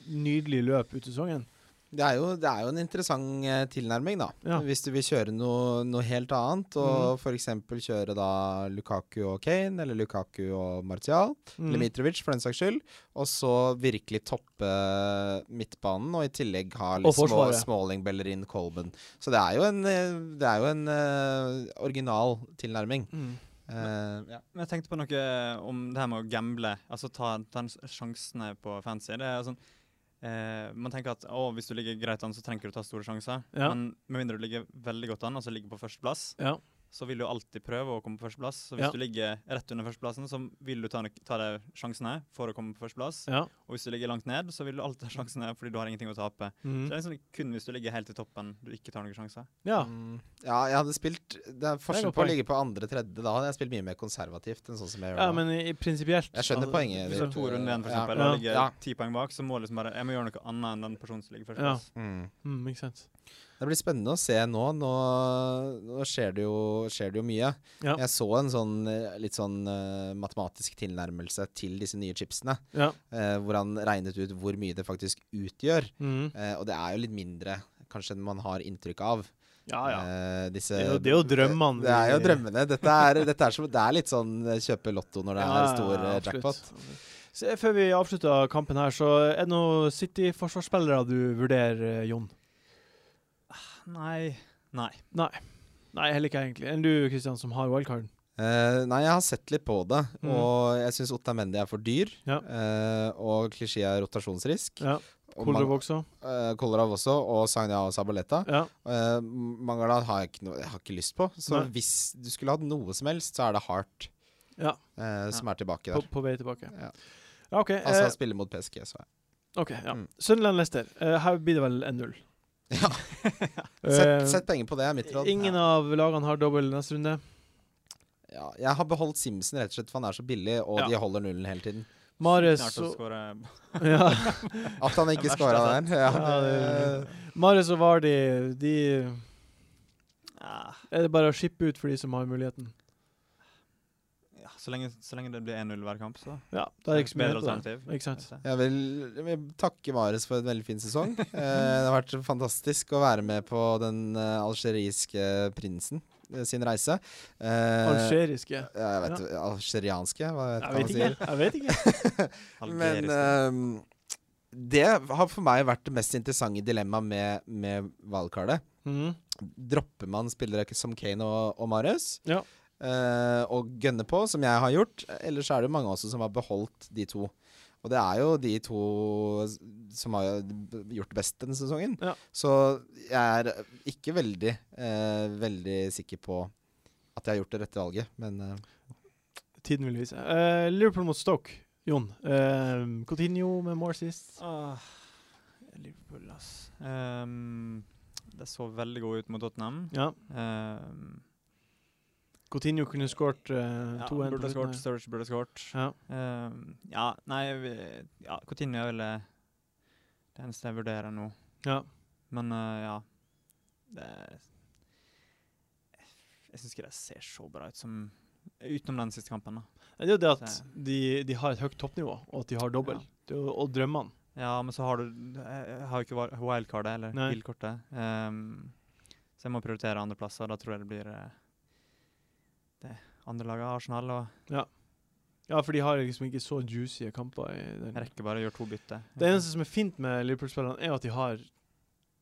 nydelig løp ut sesongen. det er, jo, det er jo en interessant eh, tilnærming, da. Ja. Mm. Hvis du vil kjøre noe, noe helt annet, og for f.eks. kjøre da Lukaku og Kane, eller Lukaku og Martial, Mm. eller Mitrovic for den saks skyld, og så virkelig toppe eh, midtbanen, og i tillegg ha Og litt små, forsvaret. Smalling, Bellerin, Colben. Så det er jo en, eh, det er jo en eh, original tilnærming. Mm. Eh, ja. Men jeg tenkte på noe eh, om det her med å gamble, altså ta, ta en s- sjansene på fancy. Det er sånn, eh, man tenker at å, hvis du ligger greit an, så trenger ikke du ta store sjanser. Ja. Men med mindre du ligger veldig godt an, altså ligger på førsteplass, Ja. så vil du alltid prøve å komme på førsteplass. Så Ja. hvis du ligger rett under førsteplassen, så vil du ta, nok- ta de sjansene for å komme på førsteplass. ja. Og hvis du ligger langt ned, så vil du alltid ta sjansene fordi du har ingenting å tape. Så Mm. det er liksom kun hvis du ligger helt i toppen du ikke tar noen sjanser. ja. Mm, ja, jeg hadde spilt Det er forskjell godt på poeng. å ligge på andre, tredje. Da hadde jeg spilt mye mer konservativt enn sånn som jeg gjør Ja, nå. men i, i prinsipielt Jeg skjønner altså, hvis poenget Hvis du har jeg- ditt. to runder igjen, for Ja. eksempel, Ja. og ligger Ja. ti poeng bak, så må du liksom bare Jeg må gjøre noe annet enn den personen som ligger først. Ja. Mm. Mm, ikke sant. Det blir spennende å se nå. Nå, nå skjer, det jo, skjer det jo mye. Ja. Jeg så en sånn eh, litt sånn eh, matematisk tilnærmelse til disse nye chipsene, Ja. eh, hvor han regnet ut hvor mye det faktisk utgjør. Mm. Eh, og det er jo litt mindre kanskje enn man har inntrykk av. ja, ja. Eh, disse, Det er jo- det er jo drømmene Det er jo vi- drømmene. Dette er, dette er, som, det er litt sånn eh, kjøpe lotto når det er Ja, stor eh, absolutt. jackpot. Så, før vi avslutter kampen her, så er det noen City-forsvarsspillere du vurderer, eh, Jon? Nei. Nei. Nei. Nei, heller ikke egentlig. Enn du, Kristian, som har wildcarden? Eh, nei, jeg har sett litt på det, Mm. og jeg syns Ottamendi er for dyr. Ja. eh, og klisjé er rotasjonsrisk. Ja. Og Koldrup Mang- også? eh, Kolarov også, og Sagna og Sabaleta. Ja. Uh, Mangala har jeg, ikke noe- jeg har ikke lyst på. Så Nei. hvis du skulle hatt noe som helst, så er det Heart Ja. eh, som er tilbake På, der. på vei tilbake. Ja. Ja, OK. Altså, Eh, han spiller mot PSG, så jeg. ok, ja. Mm. Sunderland-Lester. Eh, her blir det vel 1-0. Ja. Eh, Sett, sett penger på det, er mitt råd. Ingen av lagene har dobbel neste runde. Ja, jeg har beholdt Simpson rett og slett, for han er så billig, og Ja. de holder nullen hele tiden. Mares Snart å og, skåre ja, At han ikke Det er verst jeg scora har der. Ja, Eh, Ja, det- det, Mares og Vardi, de Ah, er det bare å shippe ut for de som har muligheten. ja, så, lenge, så lenge det blir 1-0 hver kamp, så Ja, da er det ikke så mye å gjøre bedre på det. alternativ. Ikke sant? Jeg vil, jeg vil takke Marius for en veldig fin sesong. Eh, det har vært fantastisk å være med på den eh, algeriske prinsen eh, sin reise. Eh, Algeriske. Ja, jeg vet, Algerianske, hva vet, Jeg vet ikke. Jeg vet ikke. Men eh, det har for meg vært det mest interessante dilemmaet med, med valgkartet. Mm. Dropper man spillere som Kane og, og Marius? Ja. eh, og gønner på, som jeg har gjort. Ellers er det jo mange også som har beholdt de to. Og det er jo de to s- som har gjort det best denne sesongen. Ja. Så jeg er ikke veldig, eh, veldig sikker på at jeg har gjort det rette valget, men eh, Tiden vil vise. Eh, Liverpool mot Stoke. Jon. Eh, Coutinho med more sist. ah, Liverpool, ass. Ehm, det så veldig god ut mot Tottenham. Ja. Ehm, Coutinho kunne skåret eh, ja, 2-1. på burde slutten ha skåret. her. Sturridge burde ha skåret. Ja. Ehm, ja, nei vi- ja, Coutinho er vel eh, det eneste jeg vurderer nå. ja. Men eh, ja det, Jeg syns ikke det ser så bra ut som Utenom den siste kampen, da. Nei, Det er jo det at de, de har et høyt toppnivå, og at de har dobbel. Ja. Det er jo- Og drømmene. Ja, men så har du Jeg har jo ikke wa- wildcardet eller Nei. bilkortet. Ehm, så jeg må prioritere andre plasser. Da tror jeg det blir eh, det andre laget, Arsenal. Og Ja, for de har liksom ikke så juicy kamper. i den. jeg rekker bare å gjøre to bytter. Det eneste som er fint med Liverpool-spillerne, er at de har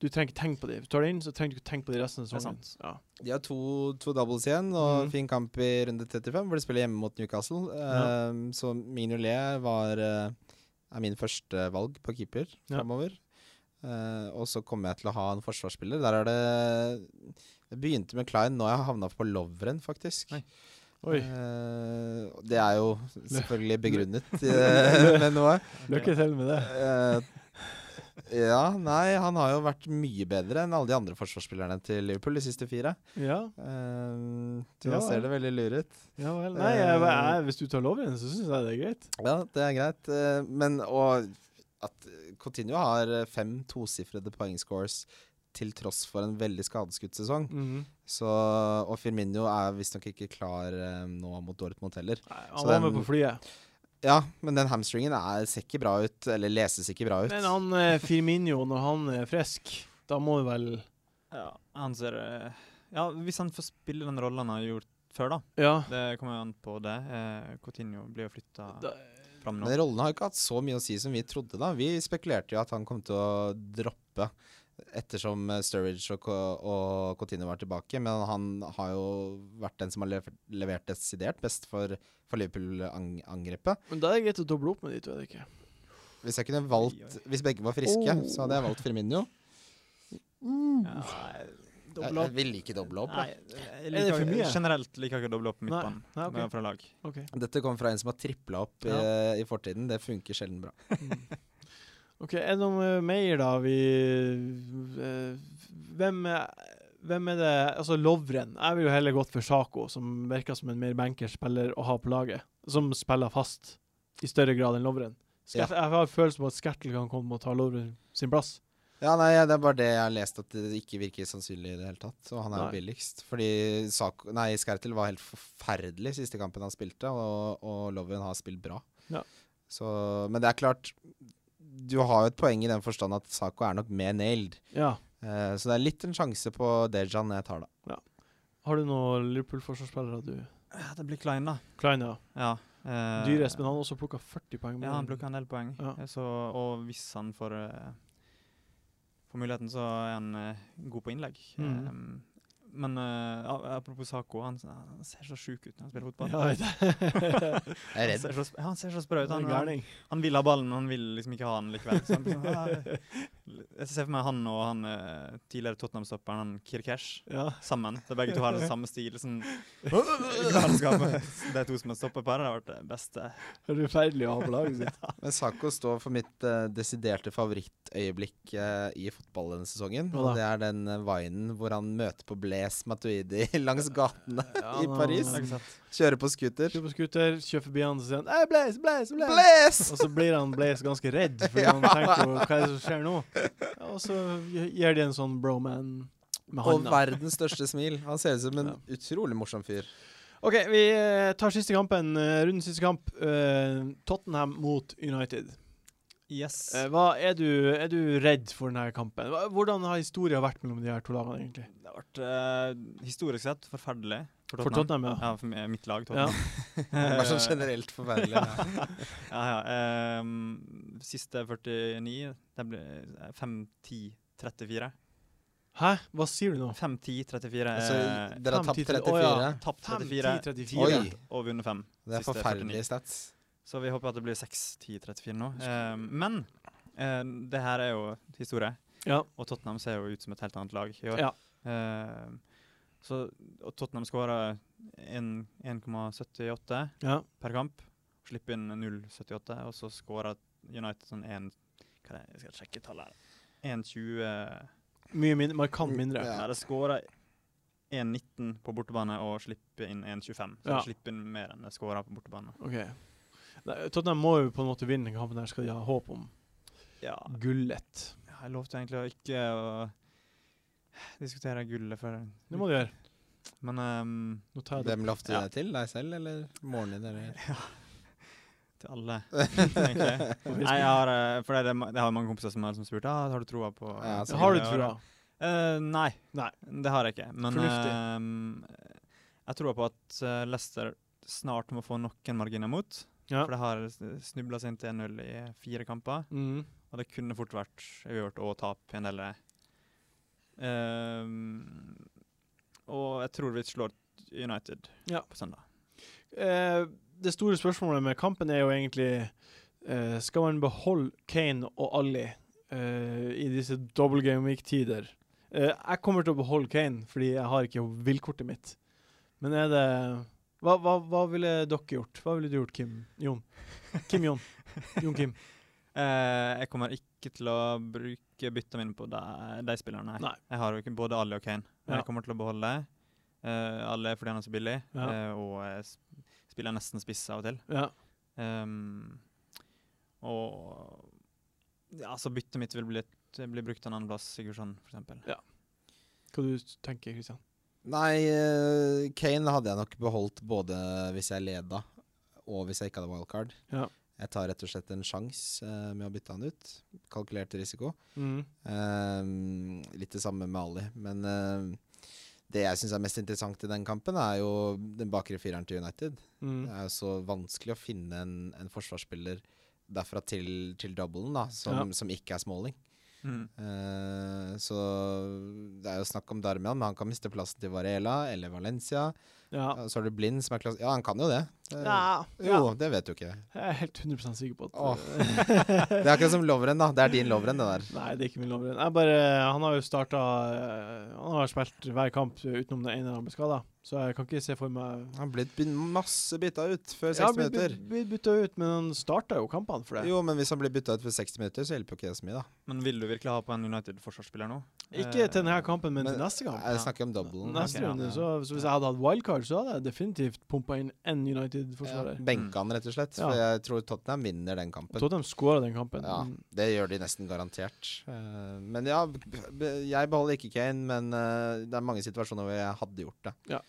Du trenger ikke tenke på dem. Tar du inn, så trenger du ikke tenke på de resten av Det er sesongen. Ja. De har to, to doubles igjen og Mhm. fin kamp i runde 35, hvor de spiller hjemme mot Newcastle. Ja. Ehm, så Mignolet var eh, er min første valg på keeper Ja. fremover. Eh, og så kommer jeg til å ha en forsvarsspiller. Der er det Jeg begynte med Klein, nå har jeg havna på Lovren, faktisk. Oi. Oi. Eh, og det er jo selvfølgelig begrunnet eh, med noe. Lykke til med det. Eh, ja, nei, han har jo vært mye bedre enn alle de andre forsvarsspillerne til Liverpool de siste fire. Ja, Uh, Ja, Jonas ser vel. det veldig lur ut. ja vel. Eh, Nei, jeg, jeg, hvis du tar lov i den, så syns jeg det er greit. Ja, det er greit. Eh, men og at Coutinho har eh, fem tosifrede poengscores til tross for en veldig skadeskutt sesong. Mhm. Så, og Firmino er visstnok ikke klar eh, nå mot Dortmund heller. Nei, Så han var den- med på flyet. Ja, men den hamstringen er, ser ikke bra ut. Eller leses ikke bra ut. Men han eh, Firmino, når han er frisk, da må du vel Ja, han ser eh, Ja, hvis han får spille den rollen han har gjort før, da. Ja. Det kommer jo an på det. Eh, Coutinho blir jo flytta Da, fram nå. Men rollen har jo ikke hatt så mye å si som vi trodde, da. Vi spekulerte jo at han kom til å droppe ettersom eh, Sturridge og, Co- og Coutinho var tilbake, men han har jo vært den som har lever- levert desidert best for, for Liverpool-angrepet. men da er det greit å doble opp med de to, er det ikke? Hvis jeg kunne valgt Hvis begge var friske, Oh. så hadde jeg valgt Firmino. Ja, nei, Jeg, doble opp. jeg ville ikke doble opp. Nei, Da. jeg Er det liker, for mye? generelt liker jeg ikke å doble opp midtbanen Nei, ok. med- fra lag. OK. Dette kom fra en som har tripla opp eh, Ja. i, i fortiden. Det funker sjelden bra. Ok, Er det noe eh, mer, da? Vi eh, hvem, er- hvem er det Altså, Lovren. Jeg ville jo heller gått for Sjako, som virker som en mer bankerspiller å ha på laget. Som spiller fast i større grad enn Lovren. Skert, Jeg har følelsen på at Skertel kan komme og ta Lovren sin plass. Ja, nei, Det er bare det jeg har lest, at det ikke virker sannsynlig i det hele tatt. Og han er jo Nei. billigst. Fordi Sako, nei, Skertel var helt forferdelig siste kampen han spilte, og, og Lovren har spilt bra. Ja. Så, men det er klart Du har jo et poeng i den forstand at Sako er nok mer nailed. Ja. Eh, så det er litt en sjanse på Dejan jeg tar, da. Har du noen Liverpool-forsvarsspillere du Ja, Det blir Klein, da. Klein, ja. Ja. eh, Dyrest, men han har også plukka 40 poeng. med Ja, han den. plukker en del poeng. Ja. Eh, Så, og hvis han får, eh, får muligheten, så er han eh, god på innlegg. Mhm. Ehm, men eh, a- apropos Sako, han, s- han ser så sjuk ut når han spiller fotball. Ja, jeg vet det. Jeg er Han redd. ser så, sp- ja, han ser så sprø ut. Han Han, er han, gærning. han vil ha ballen, han vil liksom ikke ha den likevel. Så han blir sånn, «Ah». jeg ser for meg han og han eh, tidligere Tottenham-stopperen, han Kirkesh, Ja. sammen. Så begge to har den samme stil. Sånn, galskap. de to som har stoppet på her, det har vært det beste. Det er forferdelig å ha på laget sitt. Men Sako står for mitt eh, desiderte favorittøyeblikk eh, i fotball denne sesongen. Hva da? Og det er den eh, vinen hvor han møter på Blaise Matuidi langs gatene Ja, i nå- Det Paris. har jeg ikke sett. Kjører på scooter. Kjører på scooter, kjører forbi han og sier han, «Ei, Blaze, Blaze, Blaze!» Blaise! Og så blir han Blaze ganske redd, fordi han tenker på hva er det som skjer nå. Og så gir de en sånn broman med Og handa. verdens største smil. Han ser ut som en utrolig morsom fyr. OK, vi eh, tar siste kampen. eh, Rundens siste kamp. eh, Tottenham mot United. Yes. Eh, Hva er du, er du redd for denne kampen? Hva- Hvordan har historien vært mellom de her to lagene, egentlig? Det har vært eh, historisk sett forferdelig for For Tottenham, Tottenham. ja. Ja, for mi- mitt lag, Ja. Tottenham. Bare sånn generelt forferdelig. ja, ja. ehm, siste 49, det ble eh, 5-10-34. Hæ? Hva sier du nå? 5-10-34. Så eh, Altså, dere har fem tapt titler. Å, ja. 34. Tapt 34 5-10-34. Oi, og vunnet 5. det er Siste forferdelige stats. Så vi håper at det blir 6-10-34 nå. Ehm, men eh, det her er jo historie, Ja. og Tottenham ser jo ut som et helt annet lag i år. Ja. Ehm, så, og Tottenham skåra 1,78. ja. per kamp. Slippe inn 0,78, og så skårer United sånn 1 Hva er det? Jeg skal sjekke tallet her. 1,20 Mye mindre. Markant mindre. Ja. Nei, de skårer 1,19 på bortebane og slipper inn 1,25. Så Ja. de slipper inn mer enn de skårer på bortebane. OK. Nei, Tottenham må jo på en måte vinne denne kampen, her skal de ha håp om Ja, gullet. jeg lovte egentlig å ikke å diskutere gullet før Det må du gjøre. Men ehm, Nå tar jeg det. Hvem lovte du Ja. det til? Deg selv, eller moren din? Eller? Til alle. egentlig. Nei, jeg har, eh, for det, er det, ma- jeg har mange kompiser som har liksom spurt ah, har du troa på Ja, så- Har du det trua? året?» Eh, nei. Nei. Det har jeg ikke. Men Fornuftig. eh, jeg tror på at eh, Leicester snart må få noen marginer mot. Ja. For det har snubla seg inn til 1-0 i fire kamper. Mm. Og det kunne fort vært uavgjort og tap i en del. Ehm, og jeg tror vi slår United Ja. på søndag. Eh, det store spørsmålet med kampen er jo egentlig eh, Skal man beholde Kane og Ali eh, i disse double game week-tider? Eh, jeg kommer til å beholde Kane, fordi jeg har ikke villkortet mitt. Men er det Hva, hva, hva ville dere gjort? Hva ville du gjort, Kim Jon? Kim Jon. Jon Kim. Eh, jeg kommer ikke til å bruke bytta mine på de, de spillerne. her. Nei. Jeg har jo ikke både Ali og Kane. Ja. Men jeg kommer til å beholde uh, Ali fordi han er så billig, Ja. eh, og jeg s- spiller nesten spiss av og til. Ja. Ehm, og ja, så byttet mitt vil bli, bli brukt en annen plass, sånn, Sigurdsson f.eks. Hva du tenker du, Kristian? Nei, eh, Kane hadde jeg nok beholdt både hvis jeg leda og hvis jeg ikke hadde wildcard. Ja. Jeg tar rett og slett en sjanse eh, med å bytte han ut. Kalkulert risiko. Mm. Ehm, litt det samme med Ali. Men eh, det jeg syns er mest interessant i den kampen, er jo den bakre fireren til United. Mm. Det er jo så vanskelig å finne en, en forsvarsspiller derfra til, til doublen, da, som, som ikke er Smalling. Mm. Eh, så det er jo snakk om Darmian, men han kan miste plassen til Varela eller Valencia. Ja. Ja, Så er du blind som er klasse... Ja, han kan jo det. Eh, Ja. Jo, det vet du ikke. Jeg er helt 100 sikker på at Åh. Det er akkurat som Lovren, da. Det er din Lovren, det der. Nei, det er ikke min lovbrudd. Jeg bare, han har jo starta Han har spilt hver kamp utenom den ene han ble skada, så jeg kan ikke se for meg Han ble by- masse bytta ut før 60 Ja, blitt minutter. blitt bytta ut, men han starta jo kampene for det. Jo, men hvis han blir bytta ut før 60 minutter, så hjelper jo ikke det så mye, da. Men vil du virkelig ha på en United-forsvarsspiller nå? Eh, Ikke til denne kampen, men, men- til neste kamp. Jeg snakker om doublen. Neste ok, ja. runde, så, så hvis jeg hadde hatt wildcard, så hadde jeg definitivt pumpa inn én United-forsvarer. Ja, benka han, rett og slett. For jeg tror Tottenham vinner den kampen. Tottenham skåra den kampen. Ja, Mm. det gjør de nesten garantert. Eh, men ja, b- b- jeg beholder ikke Kane, men eh, det er mange situasjoner hvor jeg hadde gjort det. Ja.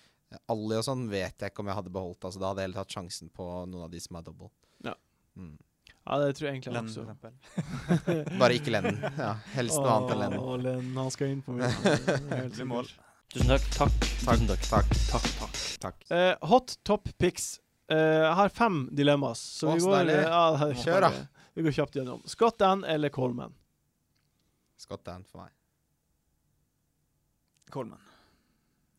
Alli og sånn vet jeg ikke om jeg hadde beholdt. Altså, da hadde jeg heller tatt sjansen på noen av de som er double. Ja. Mm. ja, det tror jeg egentlig han Lenn, for også. eksempel. Bare ikke Lennon. Ja, helst noe annet enn Lennon. Åh, Lenn, han skal inn på min. Det er helt Blir mål. sikkert. Tusen takk. Takk. Tusen takk. Takk. Takk, takk. Takk. Eh, hot top picks. Eh, jeg har fem dilemmaer, så Å, vi så går deilig. ja, det er Kjør, bare- Vi går kjapt gjennom. Scott Ann eller Coleman? Scott Dan for meg. Coleman.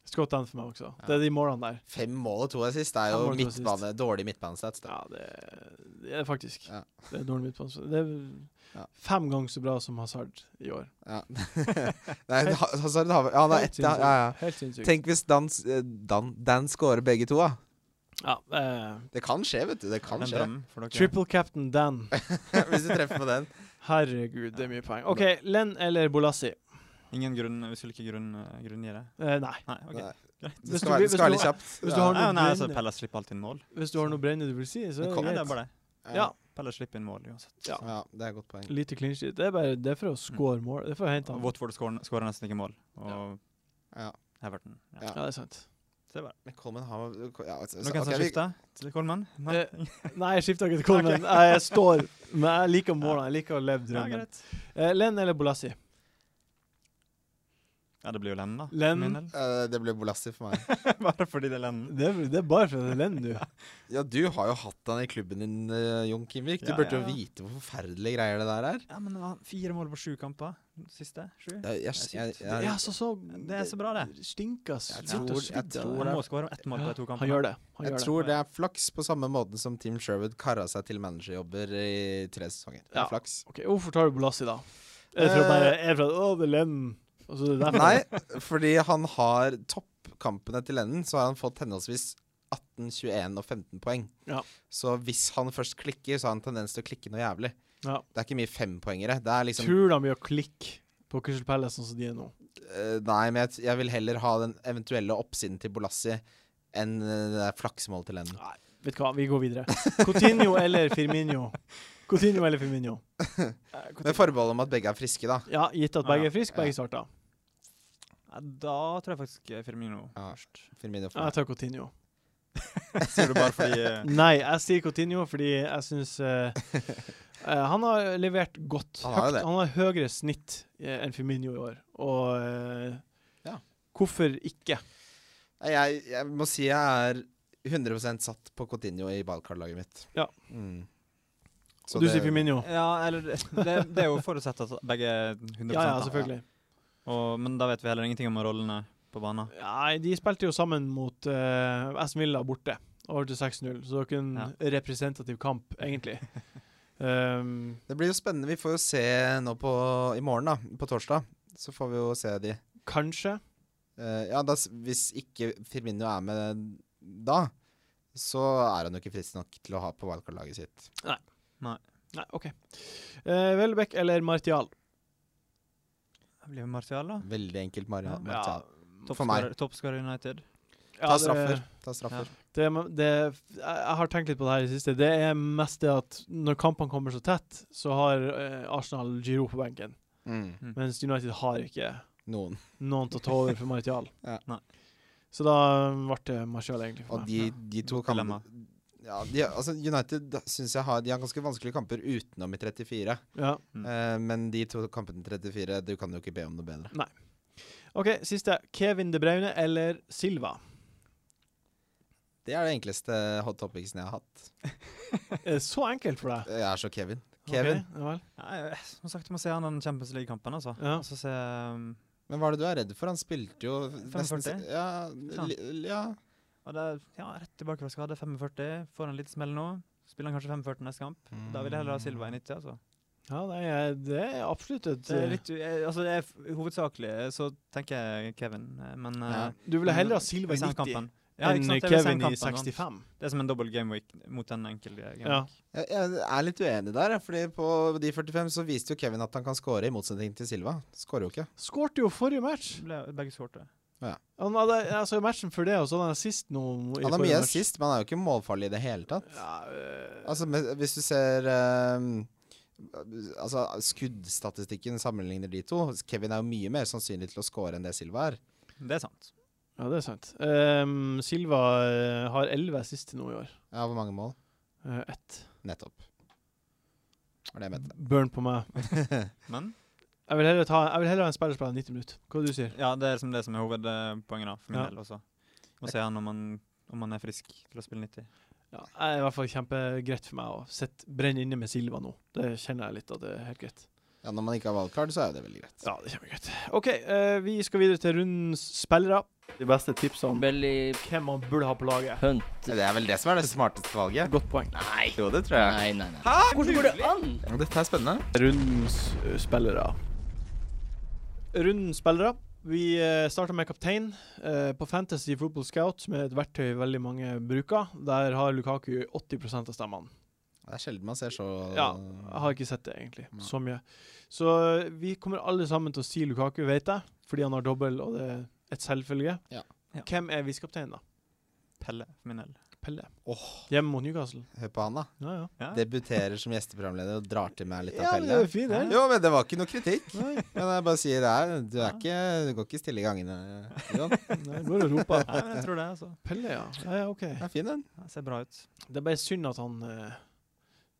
Scott Ann for meg også. Det er de målene der. Fem mål og to assist det er Fem jo mål og to assist. midtbane, dårlig midtbanestats. det. Ja, det, det er faktisk. Ja. Det er dårlig midtbane. Det er Ja. fem ganger så bra som Hazard i år. Ja. Nei, ha- Hazard har ja, han har Helt ett, ja. ja, ja. Helt sinnssykt. Tenk hvis Dan, s- eh, Dan, Dan scorer begge to, da. Ja, eh, Det kan skje, vet du. Det kan En skje. drøm for dere. triple captain Dan. hvis du treffer på den. Herregud, det er mye poeng. OK, Len eller Bolassi? Ingen grunn, vi skulle ikke grunn, grunngi det. Eh, nei. Nei, ok. Nei. Hvis Det du skal være, vil- det skal være hvis litt du- kjapt. hvis du har Nei, noe nei, altså, brennende. Pelle slipper alltid inn mål. Hvis du har noe brennende du vil si, så er Nei, det det er greit. bare det. Ja. Pelle slipper inn mål uansett. Ja. Ja, det er et godt poeng. Lite clean sheet. Det er bare det er for å score mål. Det er for å hente han. Watford skårer nesten ikke mål. Og Ja. Everton. Ja. Ja, Ja. det er sant. Se bare. Men Coleman har ja, altså, Noen som ok, vi- skifter? Til Coleman? Nei. Eh, Nei, jeg skifter ikke til Coleman. Jeg står Men jeg liker målene. Jeg liker å leve Ja, drømmen. greit. Eh, Len eller Bolassi? Ja, det blir jo Lenn, da. Lenn. Min del. Eh, det ble Bolassi for meg. Bare fordi det er Lenn. Det, er- det er bare for at det er Len, du. Ja, du har jo hatt han i klubben din, eh, Jon Kimvik. Du Ja, burde ja, jo ja. vite hvor forferdelige greier det der er. Ja, men han- fire mål på sju kamper. Siste. Sju. Det er- Jeg, sykt. jeg, jeg, Ja, så, så, Det er så bra, det. Stinker Jeg slutt tror- å jeg svidde. tror Han det- må skåre ett mål på de to Ja, kampene. Han gjør det. Han jeg gjør tror det er flaks, på samme måten som Team Sherwood kara seg til managerjobber i tre sesonger. Det er Ja. flaks. OK, hvorfor tar du Bolassi, da? Er Eh, det for å bare Er det for at Å, det er Len. Og så er det derfor? Nei, fordi han har toppkampene til enden, så har han fått henholdsvis 18, 21 og 15 poeng. Ja. Så hvis han først klikker, så har han tendens til å klikke noe jævlig. Ja. Det er ikke mye fempoengere. Det er liksom Tror de blir å klikke på Crystal Palace sånn som de er nå? Eh, Nei, men jeg, t- jeg vil heller ha den eventuelle oppsiden til Bolassi enn eh, det der flaksemålet til enden. Nei, vet du hva, vi går videre. Coutinho eller Firmino? Coutinho eller Firmino? Med forbehold om at begge er friske, da. Ja, gitt at begge er friske, Ja. begge starter. Ja, Da tror jeg faktisk eh, Firmino Ja. først. Firmino Jeg for meg. tar Coutinho. Sier du bare fordi eh, Nei, jeg sier Coutinho fordi jeg syns han har levert godt. Han har jo Høyt- det. han har høyere snitt eh, enn Firmino i år. Og eh, Ja. hvorfor ikke? Nei, Jeg, jeg må si jeg er 100 satt på Cotinho i ballkarlaget mitt. Ja. Mm. Så du sier Firmino. Ja, eller det, det er jo forutsett at begge er 100 Ja, ja, da. selvfølgelig. Og, men da vet vi heller ingenting om rollene på banen. Nei, de spilte jo sammen mot uh, Aston Villa borte. Over til 6-0. Så det var ikke en representativ kamp, egentlig. Um, Det blir jo spennende. Vi får jo se nå på i morgen, da. På torsdag. Så får vi jo se de. kanskje. Eh, ja, da, s- hvis ikke Firmino er med da, så er han jo ikke frisk nok til å ha på wildcard-laget sitt. Nei, OK. Uh, Welbeck eller Martial? Det blir jo Martial, da. Veldig enkelt, Maria. Ja. Martial. For meg. Toppskårer toppskårer i United. Ja, Ta det- straffer. Ta straffer. Det, det, jeg- jeg har tenkt litt på det her i det siste. Det er mest det at når kampene kommer så tett, så har eh, Arsenal Giroud på benken. Mm. Mens United har ikke Noen. noen til å ta over for Martial. Ja. Nei. Så da um, ble det Martial, egentlig. for Og meg. de, de to kampene Dilemma. ja, de, altså United syns jeg har De har ganske vanskelige kamper utenom i 34. Ja. Mm. Eh, men de to kampene i 34, du kan jo ikke be om noe bedre. OK, siste. Kevin De Braune eller Silva? Det er det enkleste hot topicsen jeg har hatt. Er det Eh, så enkelt for deg? Jeg er så Kevin. Kevin. Ok, ja vel. Nei, jeg- som sagt, du må se han den Champions League-kampen, altså. Ja. Og så se um, Men hva er det du er redd for? Han spilte jo nesten 45? Ja, Faen. li- ja. Og det er ja, rett tilbake fra skade, 45. Får han litt smell nå. Spiller han kanskje 45 neste kamp. Da vil Mm. jeg heller ha Silva i 90, altså. Ja, nei, jeg- det er absolutt et Det er litt, u- jeg, altså det er f- hovedsakelig eh, så tenker jeg Kevin, eh, men Ja. eh, Du ville heller ha Silva i hvis han 90 kampen- Ja, ikke enn sant, jeg vil se Kevin i kampen, sant? 65. Det er som en dobbel gameweek mot en enkel eh, gameweek. Ja. Jeg, jeg er litt uenig der, jeg, fordi på de 45 så viste jo Kevin at han kan score, i motsetning til Silva. Skårer jo ikke. Skårte jo forrige match. Ble, begge skårte. Han hadde altså, matchen før det, og så hadde han assist nå. i Han har forrige mye match. sist, men han er jo ikke målfarlig i det hele tatt. Ja, øh, Altså, men hvis du ser ehm, Altså, skuddstatistikken sammenligner de to. Kevin er jo mye mer sannsynlig til å score enn det Silva er. Det er sant. ja, det er sant. Ehm, Silva øh, har elleve siste nå i år. Ja, hvor mange mål? Uh, ett. Nettopp. Det var det jeg mente. Burn på meg. Men Jeg vil heller, ta, jeg vil heller ha en spiller som spiller 90 minutter. Hva du sier ja, det er liksom det som er hovedpoenget da, for min Ja. del også. Må se han om han, om han er frisk til å spille 90. ja, Det er i hvert fall kjempegreit for meg å sitte brenne inne med Silva nå. Det kjenner jeg litt at det er helt greit. Ja, Når man ikke har valgkart, så er jo det veldig greit. Ja, det er kjempegreit. OK, eh, vi skal videre til rundens spillere. De beste tipsene Belly hvem man burde ha på laget. Hunt. Det er vel det som er det smarteste valget. Godt poeng. Nei. Jo, det tror jeg. Nei, nei, nei. Hæ? Hvordan går det an? Dette er spennende. Rundens eh, spillere. Rundens spillere. Vi eh, starter med kaptein. Eh, på Fantasy Football Scout, som er et verktøy veldig mange bruker, der har Lukaku 80 av stemmene. Det er sjelden man ser så Ja, Jeg har ikke sett det, egentlig. Nei. Så mye. Så eh, vi kommer alle sammen til å si Lukaku, vet jeg, fordi han har dobbel, og det er et selvfølge. Ja. Ja. Hvem er visekapteinen, da? Pelle, for min del. Pelle. Hjemme mot Newcastle. Hør på han, da. Ja, ja. Ja. Debuterer som gjesteprogramleder og drar til meg litt av Ja, det er pellet. jo fint, det. Jo, men det var ikke noe kritikk. Men jeg bare sier det her. Du, er ikke, du går ikke stille i gangene, Jon. Nei, Går og roper. Nei, men jeg tror det, altså. Pelle, ja. ja. Ja, OK. Det er fin, den. Det ser bra ut. Det er bare synd at han eh,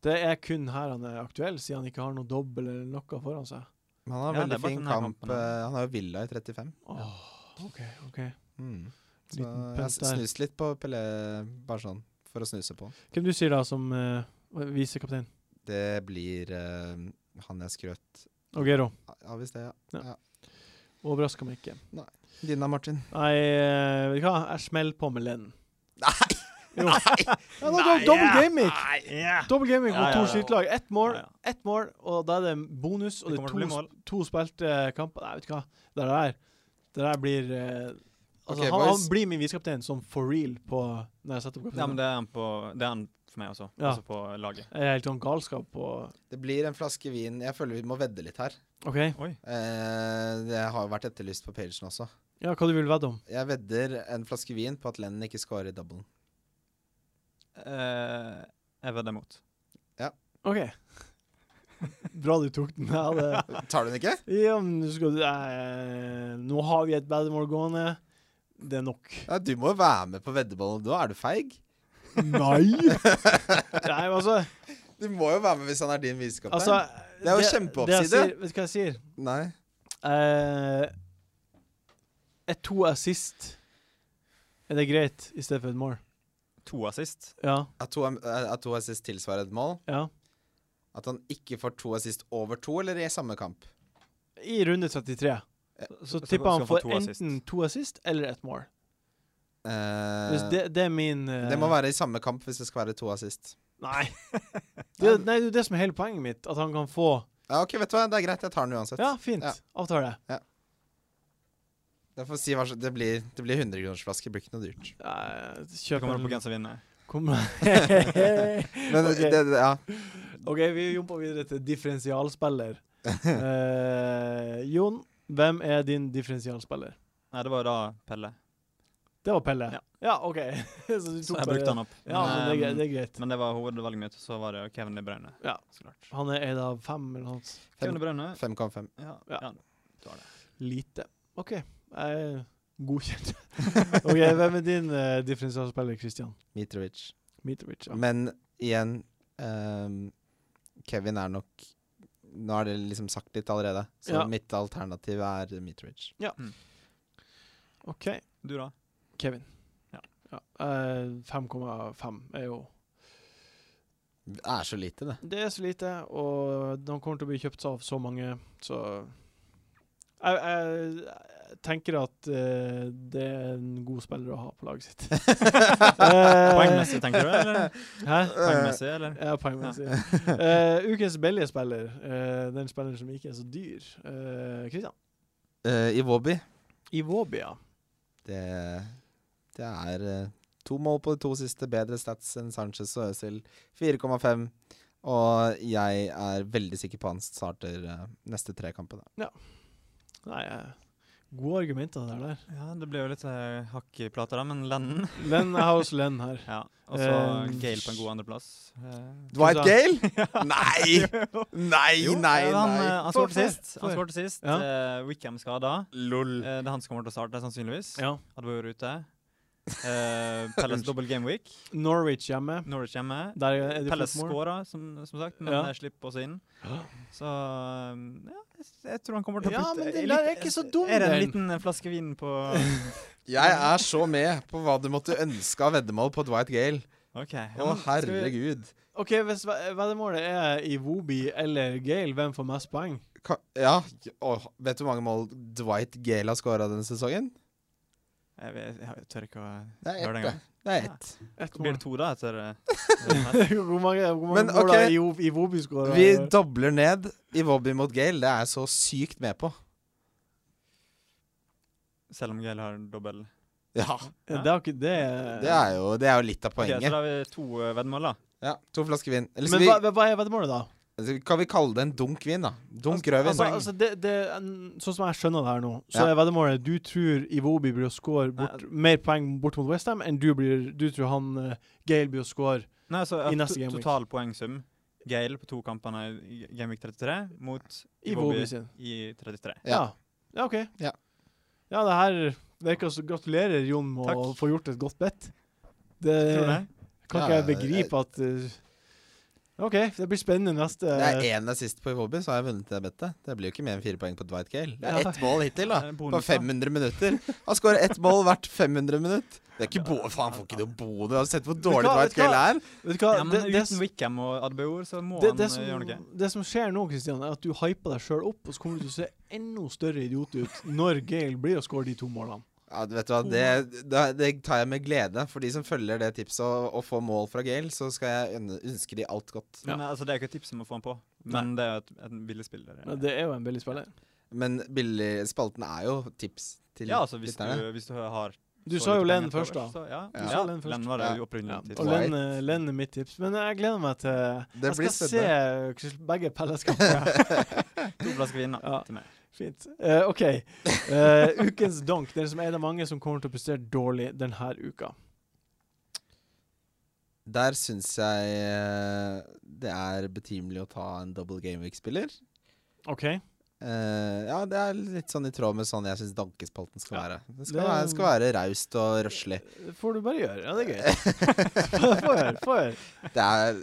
Det er kun her han er aktuell, siden han ikke har noe dobbel eller noe foran seg. Men han har Ja, det veldig er bare fin den her kamp. kampen, da. eh, Han har jo Villa i 35. Åh, OK, OK. Mm. Så Liten jeg pent har der. snust litt på Pelé, bare sånn, for å snuse på. Hvem du sier da som eh, visekaptein? Det blir eh, han jeg skrøt Aguero. av i sted, ja. Overrasker meg ikke. Dina Martin. Nei, eh, vet du hva? Jeg smeller på med Lenn. Nei! Jo. Ja, da, Nei, dobbel ja. gaming! Nei, ja. Dobbel gaming Ja, og ja, to ja. skytelag. Ett mål, Ja, ja. ett mål, og da er det en bonus. Og Det det, kommer til å er bli to, mål. sp- to spilte kamper. Nei, vet du hva. Det der, det der blir eh, Altså, Ok, han, han boys. blir min visekaptein sånn for real på når jeg setter opp Ja, men kapteinen. det er han, på, det er han for meg også. Ja. Også på laget. Jeg er helt sånn galskap på Det blir en flaske vin. Jeg føler vi må vedde litt her. OK. Oi. Eh, det har jo vært etterlyst på pagen også. Ja, hva du vil vedde om? Jeg vedder en flaske vin på at Lennon ikke scorer i doublen. Eh, jeg vedder mot. OK. Bra du tok den. Ja, det. Tar du den ikke? Ja, men du skal, eh, nå har vi et veddemål gående. det er nok. Ja, du må jo være med på veddeballen. Da er du feig. Nei! Nei, men altså, Du må jo være med hvis han er din visekaptein. altså Det er jo det jeg kjempeoppside. sier- Vet du hva jeg sier? Nei. Eh, er to assist Er det greit i stedet for et mål? To assist. Ja. At to, eh, at to assist tilsvarer et mål? ja. At han ikke får to assist over to, eller i samme kamp? I runde 33. Så så tipper skal han han få får to assist. enten to assist eller ett mål. Eh, Hvis det, det er min eh, det må være i samme kamp hvis det skal være to assist. Nei. Det, nei, det er jo det som er hele poenget mitt. At han kan få Ja, ok, vet du hva? Det er greit, jeg tar den uansett. Ja, fint. Ja. Avtale. Jeg får si hva, som- det, blir, det blir 100-kronersflaske, det blir ikke noe dyrt. Eh, Det Kjøp kommer an på en hvem som vinner. Kommer Men Ok. det, det, ja. OK, vi jumper videre til differensialspiller. Eh, Jon, hvem er din differensialspiller? Nei, det var da Pelle. Det var Pelle. Ja. Ja, OK. så du Så tok jeg bare- brukte han opp. Ja, men det er, greit, Um, det er greit. Men det var hovedvalget mitt, så var det Kevin De Bruyne. Ja. Så klart. Han er en av fem eller noe sånt. Kevin De Bruyne. 5,5. Ja, Ja. ja. du har det. Lite. OK. Jeg godkjent. OK, hvem er din eh, differensialspiller, Christian? Mitrovic. Mitrovic. Ja. Men igjen ehm, Kevin er nok Nå er det liksom sagt litt allerede, så Ja. mitt alternativ er Mitrovic. OK, Du, da? Kevin. Ja. Ja. eh, 5,5 er jo Det er så lite, det. Det er så lite, og han kommer til å bli kjøpt av så mange, så Jeg, jeg, jeg tenker at eh, det er en god spiller å ha på laget sitt. Poengmessig, tenker du? Eller? Hæ? Poengmessig, eller? Ja, poengmessig. Eh, ukens billige spiller, eh, den spilleren som ikke er så dyr eh, Kristian? Eh, I Wobby Ivobia. det, det er eh, to mål på de to siste, bedre stats enn Sanchez og Øzil. 4,5. Og jeg er veldig sikker på han starter eh, neste tre kampene. Nei, eh, gode argumenter der. der. Ja, det blir jo litt eh, hakk i plata, da, men Lennon Len, jeg har også Len her. ja. Og så Eh, Gale på en god andreplass. Eh, Dwight Tusen Gale? Nei! Nei, jo, eh, nei, Han, eh, nei. han Får, får, skåret sist. Han får. skårte sist. Ja. Eh, Wickham skada. Lol. Eh, det er han som kommer til å starte, sannsynligvis. Ja. Hadde vært ute. Eh, Pelles double game week. Norwich hjemme. Norwich hjemme. Der er det Pelles fotmål. skåra, som, som sagt, men Eh, Ja. jeg slipper oss inn. Så um, ja, jeg, jeg tror han kommer til å Ja, putte men den jeg der er liker- ikke så dum, Er det en den. liten eh, flaske vin på Jeg er så med på hva du måtte ønske av veddemål på Dwight Gale. OK. ja, Å, men skal vi- herregud. OK, hvis ve- veddemålet er Iwobi eller Gale, hvem får mest poeng? Ka ja, åh, vet du hvor mange mål Dwight Gale har scora denne sesongen? Jeg, vet- jeg tør ikke å Det er gjøre det ett. engang. det. Det er ett. Ett mål. Blir det to, da, etter eh, hvor mange, hvor mange Men, mål ok. har Iwo- Iwobi skåra? Vi dobler ned i Wobby mot Gale. Det er jeg så sykt med på. Selv om Gail har dobbel. Ja, Det er jo ikke det Det er jo, det er jo litt av Ok, så poenget. da har vi to eh, veddemål, da. Ja, To flasker vin. Eller Men skal hva, vi, hva- altså, hva er veddemålet, da? kan vi kalle det en dunk vin, da? Dunk rødvin. Altså, altså det, det, er en- sånn som jeg skjønner det her nå, så Ja. er veddemålet du tror Iwobi blir å score bort, mer poeng bort mot Westham enn du, blir, du tror han eh, Gale blir å score Nei, så I eh, neste to- game week. total poengsum. Gail på to kampene i Gameweek 33 mot i Iwobi Iwobi sin. i 33. Ja. ja, OK. Ja. Ja, det her virker som Gratulerer, Jon, med å Takk. få gjort et godt bet. Det Tror du det? kan Ja, ikke jeg begripe at eh, OK, det blir spennende neste det er én assist på Wobby, så har jeg vunnet det bettet. Det blir jo ikke mer enn fire poeng på Dwight Gale. Det er Ja. ett mål hittil, Eh, da. På bonus, da. 500 minutter. Han skårer ett mål hvert 500 minutt. Det er ikke bo Faen, han får ikke noe bonus. Har du sett hvor dårlig hva- vet Dwight du hva? Gale er? Vet du hva, Ja, men det, det, uten Wickham og Adbeor, så må det, han det, eh, gjøre som, noe. det som skjer nå, Kristian, er at du hyper deg sjøl opp, og så kommer du til å se enda større idiot ut når Gale blir å score de to målene. Ja, vet du hva, det, da- det tar jeg med glede. For de som følger det tipset og, og får mål fra Gale, så skal jeg ønne- ønske de alt godt. Men, eh, altså, det er ikke et tips om å få han på, men det er jo et, en billig spiller. eh. Men Det er jo en billig spiller. Men billig, spalten er jo tips til Ja, altså hvis du, lytterne. hvis du har Du så sa jo lite Len penger til først, overs, da. så Ja. Du Ja. sa Len først. Len var det Ja. jo opprinnelig Ja. til. Og Len, eh, Len er mitt tips. Men jeg gleder meg til Det Jeg blir skal se eh, begge pelleskapene. To flasker vin da, Ja. til meg. Fint. Eh, OK. Eh, ukens donk, den som er en av mange som kommer til å prestere dårlig denne uka. Der syns jeg eh, det er betimelig å ta en double gameweek-spiller. OK? Eh, ja, det er litt sånn i tråd med sånn jeg syns dankespalten skal Ja. være. Det skal, Det- være, det skal være raust og røslig. Det Eh, får du bare gjøre. Ja, det er gøy. Få høre. Få høre. Det er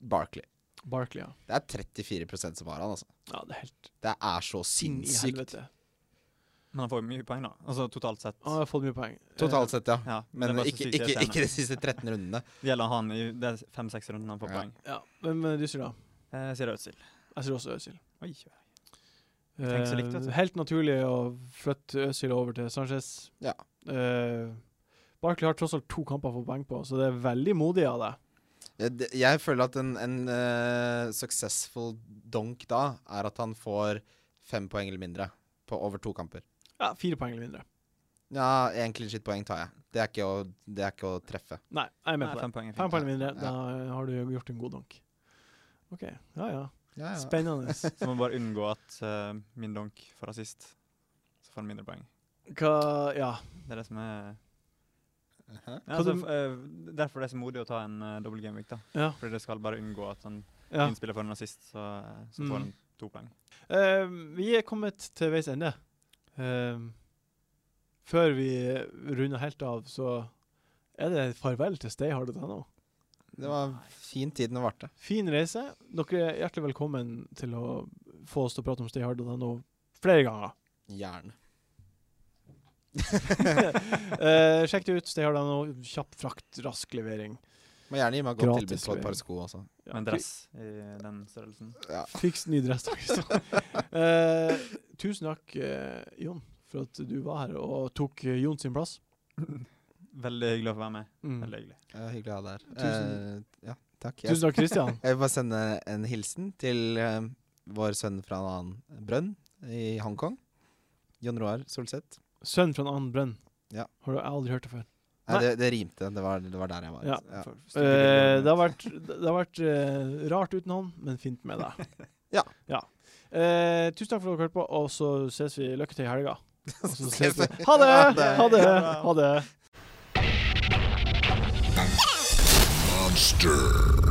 Barkley. Barkley, ja. Det er 34 som har han, altså. Ja, det er helt Det er så inn i sinnssykt. helvete. Men han får jo mye poeng, da. Altså totalt sett. Han har fått mye poeng. Totalt sett, ja. Ja, Men det var så ikke, sykt ikke, irriterende. ikke de siste 13 rundene. Det gjelder han i de fem-seks rundene han får Ja. poeng. Eh, Ja. Hvem eh, du sier da? Eh, sier Øzil. Jeg sier også Øzil. Oi, tenker så likt, vet du. Eh, helt naturlig å flytte Øzil over til Sanchez. Ja. Eh, Barkley har tross alt to kamper å få poeng på, så det er veldig modig av deg. Jeg, det- jeg føler at en, en eh, successful donk da er at han får fem poeng eller mindre på over to kamper. Ja, fire poeng eller mindre. Ja, én clean shit-poeng tar jeg. Det er ikke å, det er ikke å treffe. Nei, jeg er med Nei, på det. fem poeng. er Fem fint. poeng eller mindre, Ja. da har du gjort en god donk. OK. Ja, ja. Ja, ja. Spennende. Så må man bare unngå at eh, min donk får assist. Så får han mindre poeng. Hva Ja. Det er det som er Aha. ja, Hva altså, du- f- eh, Derfor er det så modig å ta en uh, double game-week, da. Ja. Fordi det skal bare unngå at han ja. min spiller får en assist, så, eh, så Mm. får han to poeng. Eh, vi er kommet til veis ende. Eh, før vi runder helt av, så er det farvel til stayhard.no. Det var fin tid den varte. Fin reise. Dere er hjertelig velkommen til å få oss til å prate om stayhard.no flere ganger. Gjerne. Eh, sjekk det ut. Stayhard.no. Kjapp frakt, rask levering. Må gjerne gi meg et godt Gratis tilbud på et levering. par sko også. Ja, Med en dress i den størrelsen. Ja. fi- Fiks ny dress. dere, så. Eh, tusen takk, eh, Jon, for at du var her og tok eh, Jon sin plass. Veldig hyggelig å få være med. Mm. Veldig hyggelig. Det var hyggelig å ha deg her. Tusen- Eh, ja, takk. Jeg, Tusen takk, Kristian. jeg vil bare sende en hilsen til eh, vår sønn fra en annen brønn i Hongkong. Jon Roar Solseth. Sønn fra en annen brønn. Ja. Har du aldri hørt det før? Nei, Nei. det, det rimte. Det var, det var der jeg var. Ja. Ja. For- for- Eh, det har vært, det har vært eh, rart uten han, men fint med deg. Ja. Eh, tusen takk for at dere hørte på, og så ses vi. Lykke til i helga. Og så ses ses vi. vi. Ha det! Ha det! Ha det! Ha det. Monster.